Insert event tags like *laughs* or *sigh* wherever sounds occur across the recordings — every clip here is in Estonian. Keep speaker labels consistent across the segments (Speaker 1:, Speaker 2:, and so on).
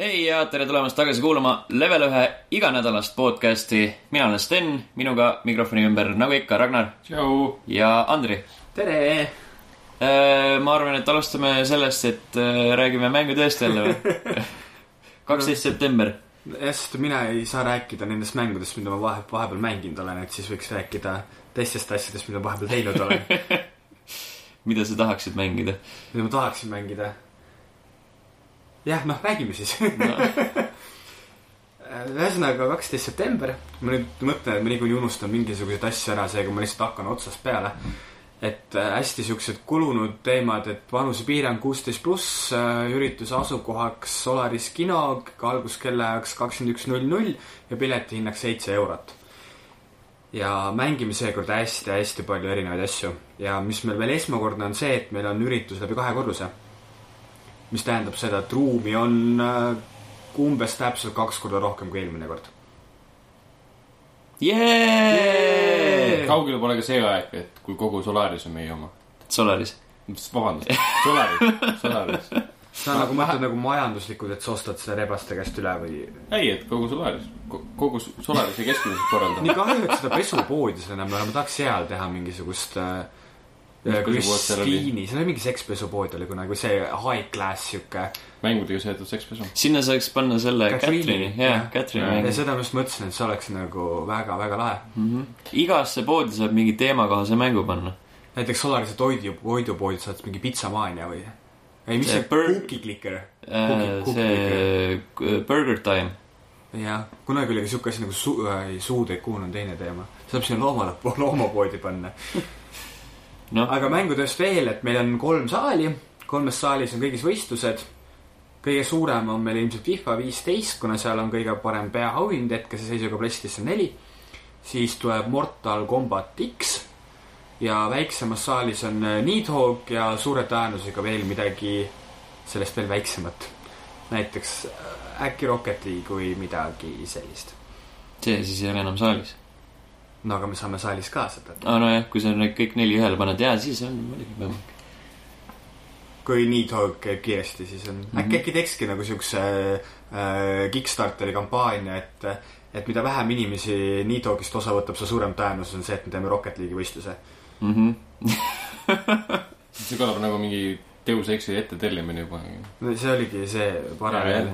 Speaker 1: hei ja tere tulemast tagasi kuulama Level ühe iganädalast podcasti . mina olen Sten , minuga mikrofoni ümber , nagu ikka , Ragnar
Speaker 2: tšau .
Speaker 1: ja Andri .
Speaker 3: tere .
Speaker 1: ma arvan , et alustame sellest , et äh, räägime mängudest jälle või ? kaksteist september .
Speaker 3: jah , sest mina ei saa rääkida nendest mängudest , mida ma vahe , vahepeal mänginud olen , et siis võiks rääkida teistest asjadest , mida vahepeal teinud olen ,
Speaker 1: mida sa tahaksid mängida ?
Speaker 3: mida ma tahaksin mängida . jah , noh , räägime siis . *laughs* Äh, ühesõnaga , kaksteist september , ma nüüd mõtlen , et ma niikuinii unustan mingisuguseid asju ära , seega ma lihtsalt hakkan otsast peale . et äh, hästi siuksed kulunud teemad , et vanusepiirang kuusteist pluss , ürituse asukohaks Solaris kino , alguskellaajaks kakskümmend üks null null ja piletihinnaks seitse eurot . ja mängime seekord hästi-hästi palju erinevaid asju ja mis meil veel esmakordne on see , et meil on üritus läbi kahe korruse . mis tähendab seda , et ruumi on äh, umbes täpselt kaks korda rohkem kui eelmine kord .
Speaker 1: Jee!
Speaker 2: kaugel pole ka see aeg , et kui kogu Solaris on meie oma .
Speaker 1: Solaris .
Speaker 2: vabandust , Solaris , Solaris .
Speaker 3: sa nagu mõtled nagu majanduslikult , et sa ostad seda rebaste käest üle või ?
Speaker 2: ei , et kogu Solaris , kogu S- Solarise keskmiselt
Speaker 3: nii
Speaker 2: korraldab .
Speaker 3: kahju , et seda pesupoodi seal enam ei ole , ma tahaks seal teha mingisugust äh,
Speaker 2: Mis pesupood seal oli?
Speaker 3: Kristiini , seal oli mingi sekspesupood oli kunagi , see high class sihuke .
Speaker 2: mängudega seotud sekspesu .
Speaker 1: sinna saaks panna selle
Speaker 3: Katriini.
Speaker 1: Katrini , jah ,
Speaker 3: Jah.
Speaker 1: Katrini
Speaker 2: Jah.
Speaker 3: ja
Speaker 1: mängib .
Speaker 3: seda ma just mõtlesin , et see oleks nagu väga-väga lahe .
Speaker 1: igasse poodi saab mingi teemakohase mängu panna .
Speaker 3: näiteks Solarise toidu , toidupoodi saad mingi pitsamaania või ? ei , mis
Speaker 1: See
Speaker 3: see
Speaker 1: Burger-
Speaker 3: Cookie Clicker ?
Speaker 1: Äh, see k- Burger Time .
Speaker 3: jah , kunagi oli ka siuke asi nagu su- , ei suudeikuun on teine teema . saab sinna loomale , *laughs* loomapoodi panna .
Speaker 1: noh ,
Speaker 3: aga mängudest veel , et meil on kolm saali , kolmes saalis on kõigis võistlused . kõige suurem on meil ilmselt FIFA viisteist , kuna seal on kõige parem peaauhind hetkeseisuga PlayStation neli . siis tuleb Mortal Combat X ja väiksemas saalis on äh, Needhog ja suure tõenäosusega veel midagi sellest veel väiksemat . näiteks äh, äkki Rocket League või midagi sellist .
Speaker 1: see siis ei ole enam saalis .
Speaker 3: no aga me saame saalis ka seda ,
Speaker 1: aa , nojah , Ah, kui sa need kõik neli ühele paned , jaa , siis on muidugi võimalik .
Speaker 3: kui Needhog käib kiiresti , siis on
Speaker 1: Mhm.
Speaker 3: mm -hmm. äkki , äkki teekski nagu siukse äh, Kickstarteri kampaania , et , et mida vähem inimesi Needhogist osa võtab , seda suurem tõenäosus on see , et me teeme Rocket League'i võistluse .
Speaker 2: see kõlab nagu mingi Deus Exi ettetellimine juba .
Speaker 3: no see oligi see paralleel .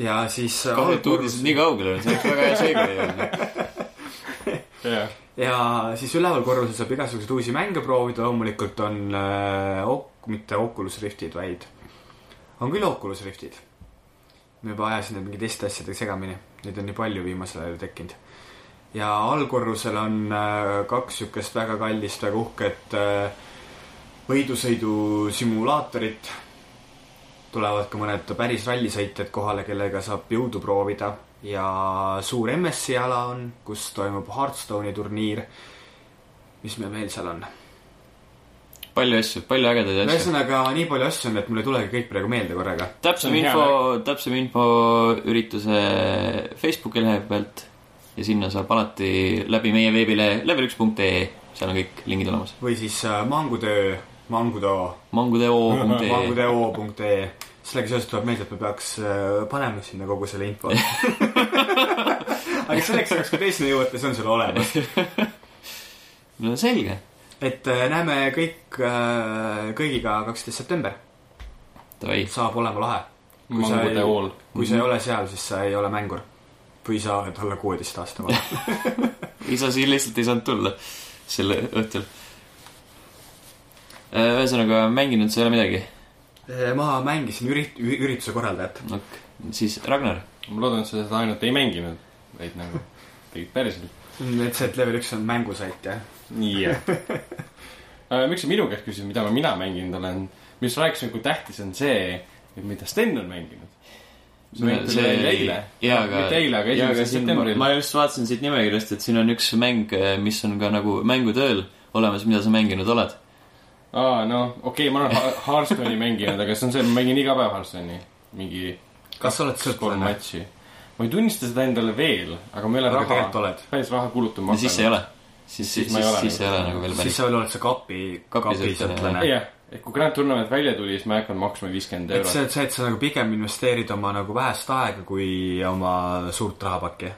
Speaker 3: ja siis .
Speaker 1: kahju , et uudised nii kaugel on , see oleks väga hea seegi olnud .
Speaker 2: jah ,
Speaker 3: ja siis üleval korrusel saab igasuguseid uusi mänge proovida , loomulikult on äh, ok, mitte Oculus Riftid , vaid on küll Oculus Riftid . ma juba ajasin need mingi teiste asjadega segamini , neid on nii palju viimasel ajal tekkinud . ja allkorrusel on äh, kaks siukest väga kallist , väga uhket äh, võidusõidusimulaatorit . tulevad ka mõned päris rallisõitjad kohale , kellega saab jõudu proovida ja suur MS-i ala on , kus toimub Hearthstone'i turniir . mis meil veel seal on ?
Speaker 1: palju asju , palju ägedaid asju .
Speaker 3: ühesõnaga nii palju asju on , et mul ei tulegi kõik praegu meelde korraga .
Speaker 1: täpsem
Speaker 2: See on hea
Speaker 1: info , täpsem info ürituse Facebooki lehe pealt ja sinna saab alati läbi meie veebilehe level1.ee , seal on kõik lingid olemas .
Speaker 3: või siis äh, mangutöö , mangutoo , *laughs*
Speaker 1: mangudeo.ee ,
Speaker 3: manguteo.ee . E. sellega seoses tuleb meelde , et me peaks äh, panema sinna kogu selle info . aga selleks ajaks , kui teiseni jõuate , see on seal olemas .
Speaker 1: no selge .
Speaker 3: et äh, näeme kõik äh, kõigiga kaksteist september ,
Speaker 1: Davai ,
Speaker 3: saab olema lahe . kui sa
Speaker 2: mangude
Speaker 3: ei ,
Speaker 2: hool .
Speaker 3: kui sa ei ole seal , siis sa ei ole mängur või sa oled alla kuueteist aasta *laughs* vana .
Speaker 1: isa siin lihtsalt ei saanud tulla sel õhtul . ühesõnaga , mänginud sa ei ole midagi
Speaker 3: Eh, ma mängisin ürit- , ürituse korraldajat .
Speaker 1: no, . siis Ragnar ,
Speaker 2: ma loodan , et sa seda ainult ei mänginud , vaid nagu tegid päriselt .
Speaker 3: et see , et level üks on mängusait jah .
Speaker 2: *laughs* jah . Äh, miks sa minu käest küsid , mida ma mina mänginud olen , mis rääkisin , kui tähtis on see , et mida Sten on mänginud . see
Speaker 1: No
Speaker 2: mängiti
Speaker 1: see
Speaker 2: välja
Speaker 1: oli-
Speaker 2: eile .
Speaker 1: jaa, aga-
Speaker 2: mitte eile , aga
Speaker 1: jaa, aga
Speaker 2: esimesel
Speaker 1: siin
Speaker 2: septembril .
Speaker 1: ma just vaatasin siit nimekirjast , et siin on üks mäng , mis on ka nagu mängutööl olemas , mida sa mänginud oled .
Speaker 2: aa , noh , okei okay, , ma olen Ha- Hearthstone'i mänginud , aga see on see , ma mängin iga päev Hearthstone'i . mingi
Speaker 3: kas sa oled
Speaker 2: kolm
Speaker 3: sõltlane ?
Speaker 2: matši . ma ei tunnista seda endale veel , aga ma ei ole
Speaker 3: aga
Speaker 2: raha
Speaker 3: tegelikult , oled .
Speaker 2: päris raha kulutama
Speaker 1: ja siis ei ole . siis , siis ,
Speaker 2: ma ei
Speaker 1: siis
Speaker 2: ole
Speaker 1: siis ei
Speaker 2: nagu-
Speaker 1: ole nagu veel
Speaker 3: siis
Speaker 1: päris .
Speaker 3: sa veel oled see kapi ,
Speaker 1: Kapi
Speaker 3: kapi
Speaker 1: sõltlane,
Speaker 3: sõltlane .
Speaker 2: jah , et kui Grand Tournament välja tuli , siis ma ei hakanud maksma viiskümmend
Speaker 3: et see
Speaker 2: eurot .
Speaker 3: on see , et sa nagu pigem investeerid oma nagu vähest aega kui oma suurt rahapakki .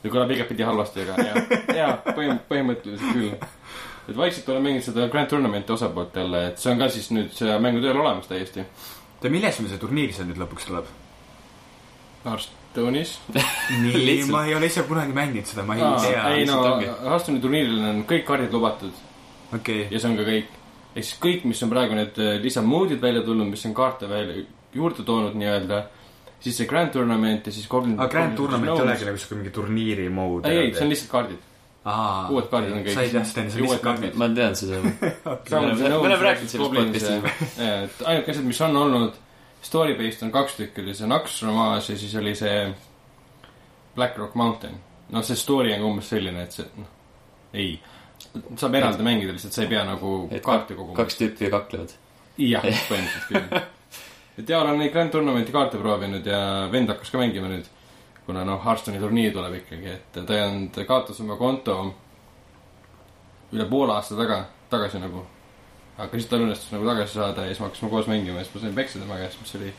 Speaker 2: see kõlab igatpidi halvasti , aga jaa , jaa , põhim- , põhimõtteliselt küll . et vaikselt olen mänginud seda Grand Tournament'i osapoolt jälle , et see on ka siis nüüd see mängu tööl olemas täiesti .
Speaker 3: oota , milles meil see turniir seal nüüd lõpuks tuleb ?
Speaker 2: Hearthstone'is .
Speaker 3: nii ,
Speaker 1: Lihtsalt.
Speaker 3: ma ei ole ise kunagi mänginud seda , ma ei
Speaker 2: Aa, ei
Speaker 3: tea .
Speaker 2: no
Speaker 1: lihtsalt ongi. ,
Speaker 2: Hearthstone'i turniiril on kõik kaardid lubatud
Speaker 3: okei ,
Speaker 2: ja see on ka kõik . ehk siis kõik , mis on praegu need eh, lisamoodid välja tulnud , mis on kaarte välja juurde toonud nii-öelda , siis see Grand Tournament ja siis Goblin .
Speaker 3: aga Ah, Grand Tournament ei olegi nagu siuke mingi turniiri mood .
Speaker 2: ei , ei , see on lihtsalt kaardid .
Speaker 3: lihtsalt
Speaker 2: uued kaardid on kõik.
Speaker 3: sa ei tea seda , see on
Speaker 2: Uued
Speaker 3: lihtsalt
Speaker 2: kaardid.
Speaker 3: kaardid .
Speaker 1: ma tean seda .
Speaker 2: *laughs*
Speaker 1: me oleme rääkinud sellest podcast'is .
Speaker 2: podcast'is . ainuke asjad , mis on olnud story based on kaks tükki , oli see Naks romaaž ja siis oli see Black Rock Mountain . noh , see story on ka umbes selline , et see , noh , ei . saab eraldi mängida lihtsalt , sa ei pea nagu
Speaker 1: Et
Speaker 2: kaarte koguma .
Speaker 1: kaks tüüpi kaklevad .
Speaker 2: jah , põhimõtteliselt küll . et jaa , olen neid Grand Tournamenti kaarte proovinud ja vend hakkas ka mängima nüüd , kuna noh , Hearthstone'i turniir tuleb ikkagi , et ta ei olnud , kaotas oma konto üle poole aasta taga , tagasi nagu . aga siis tal õnnestus nagu tagasi saada ja siis me hakkasime koos mängima ja siis ma sain peksa tema käest , mis oli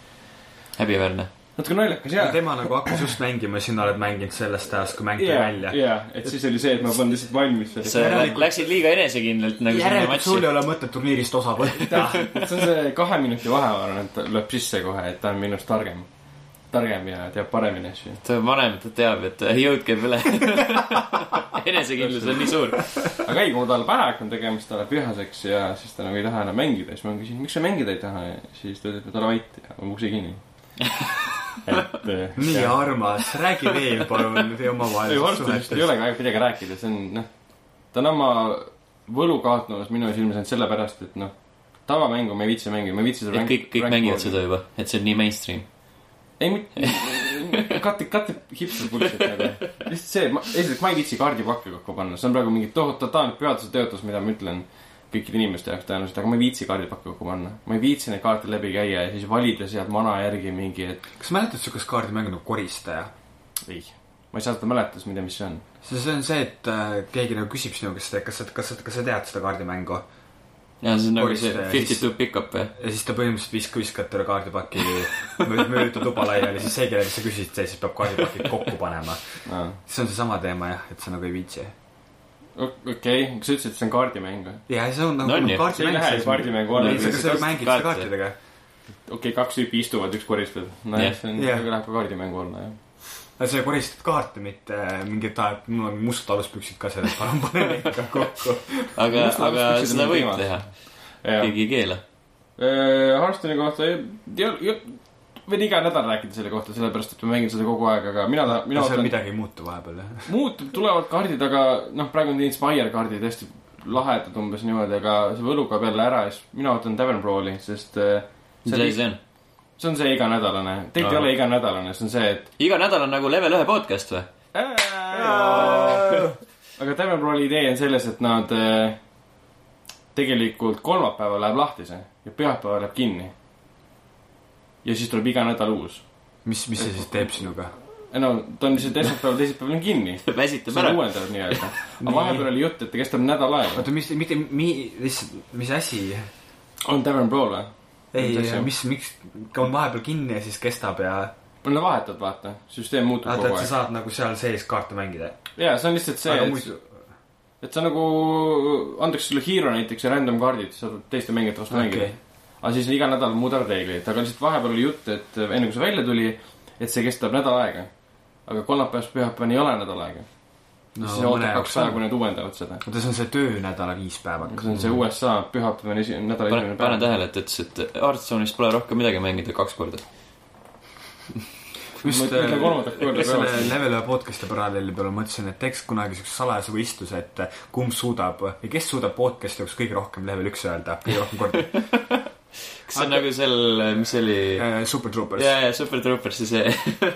Speaker 1: häbiväärne .
Speaker 2: natuke naljakas
Speaker 3: ja
Speaker 2: jaa .
Speaker 3: tema nagu hakkas just mängima ja sina oled mänginud sellest ajast , kui mängiti välja . nagu-
Speaker 2: jaa , et siis oli see , et ma polnud lihtsalt valmis .
Speaker 1: sa
Speaker 3: Järelikult-
Speaker 1: läksid liiga enesekindlalt nagu sinna
Speaker 3: järelikult sul
Speaker 1: matši
Speaker 3: ei . ole mõtet turniirist osa võtta .
Speaker 2: et see on see kahe minuti vahe , ma arvan , et ta lööb sisse kohe , et ta on minust targem , targem ja teab paremini asju .
Speaker 1: ta on vanem , ta teab , et jõud käib
Speaker 2: *laughs*
Speaker 1: üle . enesekindlus on nii suur .
Speaker 2: aga ei , kui tal päevak on tegemist , ta läheb vihaseks ja siis ta nagu ei taha enam mängida , siis ma küsin , miks sa mängida ei taha ja siis ta ütleb , et ole vait ja on ukse
Speaker 1: *laughs*
Speaker 2: kinni . et .
Speaker 3: nii . armas , räägi veel palun teie
Speaker 2: ei ,
Speaker 3: omavahelisest
Speaker 2: Hearthstone'ist ei
Speaker 3: suhetest .
Speaker 2: ole ka midagi rääkida , see on noh , ta on oma võlu kaotanud minu silmis ainult sellepärast , et noh , tavamängu me ei viitsi mängida , me ei viitsi
Speaker 1: et kõik , kõik mängivad seda . juba , et see on nii mainstream .
Speaker 2: ei , mitte , kate , kate hipster bullshit nagu . lihtsalt see , esiteks ma ei viitsi kaardipakke kokku panna , see on praegu mingi tohutu totaalne peatuse töötus , mida ma ütlen kõikide inimeste jaoks tõenäoliselt , aga ma ei viitsi kaardipakke kokku panna . ma ei viitsi neid kaarte läbi käia ja siis valida sealt mana järgi mingi , et
Speaker 3: kas mäletad siukest kaardimängu nagu Koristaja ?
Speaker 2: ei , ma ei saa seda mäletada , mida , mis see on .
Speaker 3: see , see on see , et äh, keegi nagu küsib sinu käest , et kas sa , kas sa , kas sa tead seda kaardimängu
Speaker 1: ja see on nagu see
Speaker 3: Koristaja,
Speaker 1: Fifty
Speaker 3: siis-
Speaker 1: Two Pickup eh. jah .
Speaker 3: ja siis ta põhimõtteliselt visk- , viskab talle kaardipaki mö- mööda tuba laiali , siis see , kellele sa küsisid , see siis peab kaardipakid kokku panema . see on seesama teema jah , et sa nagu ei viitsi .
Speaker 2: okei , kas sa ütlesid , et see on kaardimäng või ?
Speaker 3: ja see on
Speaker 1: No
Speaker 3: nagu
Speaker 1: on ju.
Speaker 2: See ei lähe kaardimängu alla,
Speaker 3: aga
Speaker 1: see
Speaker 3: sa
Speaker 1: kasutab
Speaker 3: mängid
Speaker 1: kaarte.
Speaker 3: seda kaartidega .
Speaker 2: okei okay, , kaks tüüpi istuvad , üks koristab . nojah ,
Speaker 1: Jah.
Speaker 2: see on
Speaker 3: Jah.
Speaker 2: yeah. , läheb ka kaardimängu alla , jah .
Speaker 3: aga sa koristad kaarte , mitte äh, mingit , mul on mustad aluspüksid ka seal , palun pane neid ka kokku .
Speaker 1: aga
Speaker 2: Must ,
Speaker 1: aga
Speaker 2: valgus püksid
Speaker 1: seda
Speaker 2: on
Speaker 1: võib
Speaker 2: teema.
Speaker 1: teha ,
Speaker 2: jah .
Speaker 1: keegi ei keela .
Speaker 2: Hearthstone'i Äh, kohta ei , ei , võin iga nädal rääkida selle kohta , sellepärast et ma mängin seda kogu aeg , aga mina , mina
Speaker 3: no seal midagi ei muutu vahepeal jah .
Speaker 2: muutub , tulevad kaardid , aga noh , praegu on need Inspire kaardid hästi lahedad umbes niimoodi , aga see võlu kaob jälle ära ja siis mina võtan Tavern Brawli , sest äh,
Speaker 1: mis
Speaker 2: see
Speaker 1: asi
Speaker 2: on ,
Speaker 1: see on ?
Speaker 2: see on see iganädalane , tegelikult ei
Speaker 1: Aa.
Speaker 2: ole iganädalane , see on see , et
Speaker 1: iga nädal on nagu level ühe podcast või ? *laughs*
Speaker 2: aga Tavern Brawli idee on selles , et nad äh, tegelikult kolmapäeval läheb lahti see ja pühapäeval läheb kinni . ja siis tuleb iga nädal uus .
Speaker 3: mis , mis see siis teeb sinuga ?
Speaker 2: no ta on lihtsalt esmaspäeval , teisipäeval on
Speaker 3: *laughs*
Speaker 2: kinni .
Speaker 1: väsitab
Speaker 2: seda
Speaker 1: ära .
Speaker 2: uuendavad nii-öelda . aga vahepeal oli jutt , et ta kestab nädal aega .
Speaker 3: oota , mis , mitte , mi- , lihtsalt , mis asi ?
Speaker 2: on Tavern Brawl või ?
Speaker 3: ei
Speaker 2: Mis asi? ,
Speaker 3: mis , miks , on vahepeal kinni ja siis kestab ja
Speaker 2: no vahetad , vaata , süsteem muutub
Speaker 3: vaata ,
Speaker 2: kogu
Speaker 3: et sa
Speaker 2: aeg .
Speaker 3: saad nagu seal sees kaarte mängida .
Speaker 2: ja see on lihtsalt see ,
Speaker 3: aga
Speaker 2: et
Speaker 3: muidu ,
Speaker 2: et sa nagu , antakse sulle hero näiteks ja random kaardid , saad teiste mängijate vastu
Speaker 3: Okei.
Speaker 2: okay. mängida . aga siis iga nädal muudavad reegleid , aga lihtsalt vahepeal oli jutt , et enne kui see välja tuli , et see kestab nädal aega . aga kolmapäevast pühapäevani ei ole nädal aega .
Speaker 3: no
Speaker 2: siis
Speaker 3: mõne
Speaker 2: ootab kaks
Speaker 3: jaoks
Speaker 2: päeva ,
Speaker 3: on .
Speaker 2: kui nad uuendavad seda .
Speaker 3: oota , see on see töönädala viis päeva .
Speaker 2: kas on see USA pühapäevane esi- , nädala
Speaker 1: pane ,
Speaker 2: esimene
Speaker 1: pane
Speaker 2: päev ?
Speaker 1: tähele , et ta ütles , et Hearthstone'is pole rohkem midagi mängida kaks korda .
Speaker 2: Ma
Speaker 3: just
Speaker 2: ütlen
Speaker 3: äh,
Speaker 2: kolmandat korda
Speaker 3: selle
Speaker 2: päevas.
Speaker 3: level ühe podcast'i paralleeli peale mõtlesin , et teeks kunagi siukse salajase võistluse , et äh, kumb suudab või kes suudab podcast'i jaoks kõige rohkem level üks öelda , kõige rohkem
Speaker 2: *laughs*
Speaker 3: kordi .
Speaker 1: kas see on nagu seal , mis see oli ?
Speaker 3: Äh, Super Troopers .
Speaker 1: ja , ja Super Troopersi see ,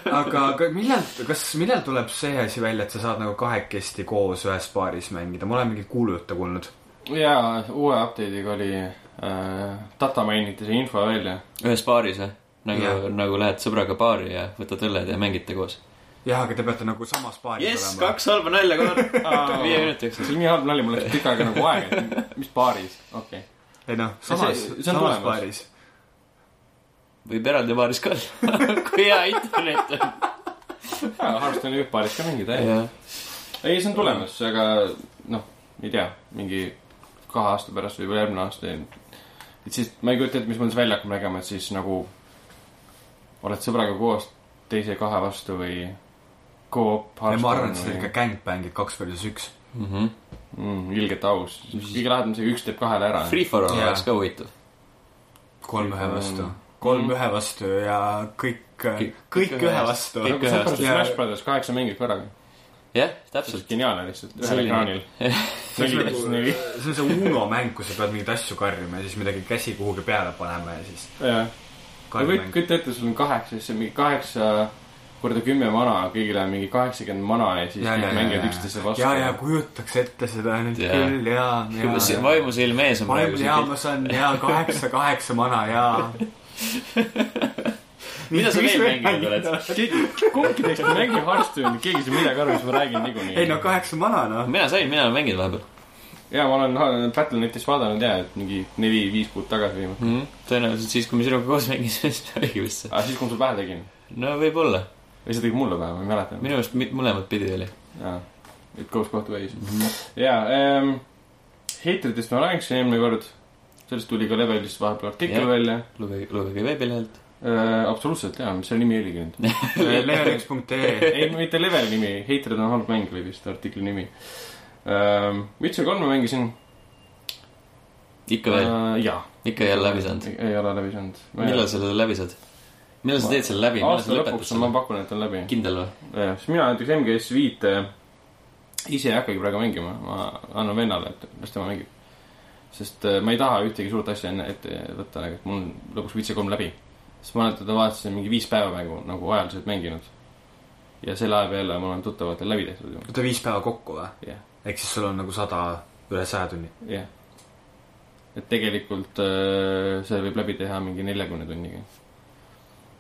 Speaker 3: aga , aga millal , kas , millal tuleb see asi välja , et sa saad nagu kahekesti koos ühes baaris mängida , ma olen mingit kuulujutte kuulnud .
Speaker 2: jaa , uue update'iga oli äh, , data mainiti see info välja .
Speaker 1: *laughs* ühes baaris või ? nagu
Speaker 3: Jah. ,
Speaker 1: nagu lähed sõbraga baari ja võtad õlled ja mängite koos .
Speaker 3: jah , aga te peate nagu samas paaris
Speaker 1: jess ,
Speaker 3: olema .
Speaker 1: kaks halba nalja korraga
Speaker 2: Aa.
Speaker 1: viie minuti
Speaker 2: see
Speaker 1: jooksul .
Speaker 2: oli nii halb nali , mul läks tükk aega nagu aega , et mis baaris , okei okay. .
Speaker 3: ei noh , samas ,
Speaker 2: see on
Speaker 3: samas
Speaker 2: tulemas.
Speaker 3: paaris .
Speaker 1: võib eraldi baaris ka olla , *laughs* kui hea *laughs* internet on .
Speaker 2: Hearthstone'i võib baaris ka mängida , jah .
Speaker 1: jah ,
Speaker 2: ei , see on tulemas , aga noh , ei tea , mingi kahe aasta pärast või juba järgmine aasta . et siis ma ei kujuta ette , mis mõttes välja hakkab nägema , et siis nagu oled sõbraga koos teise kahe vastu või koop .
Speaker 3: ja ma arvan , et see on ikka gangbang'id kaks versus üks .
Speaker 1: Mhm.
Speaker 2: mm, . ilgelt aus , kõige lahedam see , üks teeb kahele ära .
Speaker 1: free for all
Speaker 3: Jaa.
Speaker 1: oleks ka huvitav .
Speaker 3: kolm ühe vastu
Speaker 2: Mm. .
Speaker 3: kolm ühe vastu ja kõik , kõik ühe vastu .
Speaker 1: kõik
Speaker 2: nagu
Speaker 1: ühe
Speaker 2: Super
Speaker 1: vastu.
Speaker 2: Smash Brothers kaheksa mängib korraga ,
Speaker 1: jah ,
Speaker 2: see on
Speaker 1: täpselt .
Speaker 2: geniaalne lihtsalt , ühel
Speaker 1: Selline.
Speaker 3: *laughs*
Speaker 2: ekraanil .
Speaker 3: see on
Speaker 2: neli
Speaker 3: nagu ,
Speaker 2: neli . *laughs*
Speaker 3: see on see Uno mäng , kus sa pead mingeid asju karjuma ja siis midagi käsi kuhugi peale panema ja siis
Speaker 2: jah , kõik ,
Speaker 3: karjumäng .
Speaker 2: kujuta ette , sul on kaheksa , siis on mingi kaheksa korda kümme mana , kõigil on mingi kaheksakümmend mana ja siis kõik mängivad üksteise vastu .
Speaker 3: ja , ja kujutaks ette seda nüüd
Speaker 1: Jaa.
Speaker 3: küll ja , ja .
Speaker 1: vaimusilm ees on praegu
Speaker 3: vaim ja ma
Speaker 1: siin .
Speaker 3: saan ja kaheksa , kaheksa mana ja .
Speaker 1: mida sa veel mänginud oled ??
Speaker 2: keegi , kumbki teist ei mängi Hearthstone'i , keegi ei saa midagi aru , mis ma räägin niikuinii .
Speaker 3: ei no kaheksa mana *laughs* noh .
Speaker 1: mina sain , mina olen mänginud vahepeal
Speaker 2: ja ma olen Battlenetis vaadanud ja , et mingi neli-viis kuud tagasi viimati .
Speaker 1: mm . -hmm. tõenäoliselt siis , kui me sinuga koos mängisime , *laughs* siis oligi vist see .
Speaker 2: aga siis , kui ma sulle pähe tegin
Speaker 1: no võib-olla ,
Speaker 2: või sa tegid mulle pähe , ma ei mäleta .
Speaker 1: minu meelest mi- mõlemat pidi oli .
Speaker 2: jaa , it goes both ways mm . -hmm. jaa ähm, , heitritest ma rääkisin eelmine kord , sellest tuli ka levelist vahepeal artikkel
Speaker 1: Jah.
Speaker 2: yeah. välja
Speaker 1: lugege , lugege veebilehelt .
Speaker 2: äh, . absoluutselt jaa , mis selle nimi oligi nüüd ? Äh,
Speaker 3: level1.ee
Speaker 2: *laughs* ei , mitte level nimi , heitrid on halb mäng oli vist artikli nimi ähm, . Witcher kolme mängisin .
Speaker 1: ikka veel ,
Speaker 2: Äh, jaa ,
Speaker 1: ikka jälle läbi saanud .
Speaker 2: ei ei ole läbi saanud .
Speaker 1: millal sa selle läbi saad ? millal sa teed selle läbi , millal sa
Speaker 2: aasta
Speaker 1: lõpetad
Speaker 2: lõpuks on ,
Speaker 1: selle
Speaker 2: ma ? pakun , et on läbi .
Speaker 1: kindel või ?
Speaker 2: sest mina näiteks MGS viite ise ei hakkagi praegu mängima , ma annan vennale , et las tema mängib . sest äh, ma ei taha ühtegi suurt asja enne ette võtta , nagu et mul on lõpuks Witcher kolm läbi . sest ma olen teda vaatasin mingi viis päeva mängu nagu ajaliselt mänginud . ja selle aja peale ma olen tuttavatel läbi tehtud juba ,
Speaker 3: oota , viis päeva kokku või ?
Speaker 2: jah ,
Speaker 3: ehk siis sul on nagu sada , üle saja tunni .
Speaker 2: jah . et tegelikult äh, see võib läbi teha mingi neljakümne tunniga .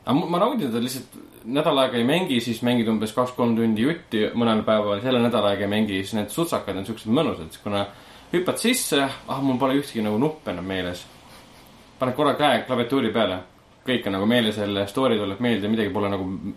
Speaker 2: aga mu- ma naudin teda lihtsalt , nädal aega ei mängi , siis mängid umbes kaks-kolm tundi jutti mõnel päeval , selle nädala aega ei mängi , siis need sutsakad on siuksed mõnusad , kuna hüppad sisse , ah , mul pole ühtegi nagu nupp enam meeles . paned korra käe klaviatuuri peale , kõik on nagu meeles jälle , story tuleb meelde , midagi pole nagu m-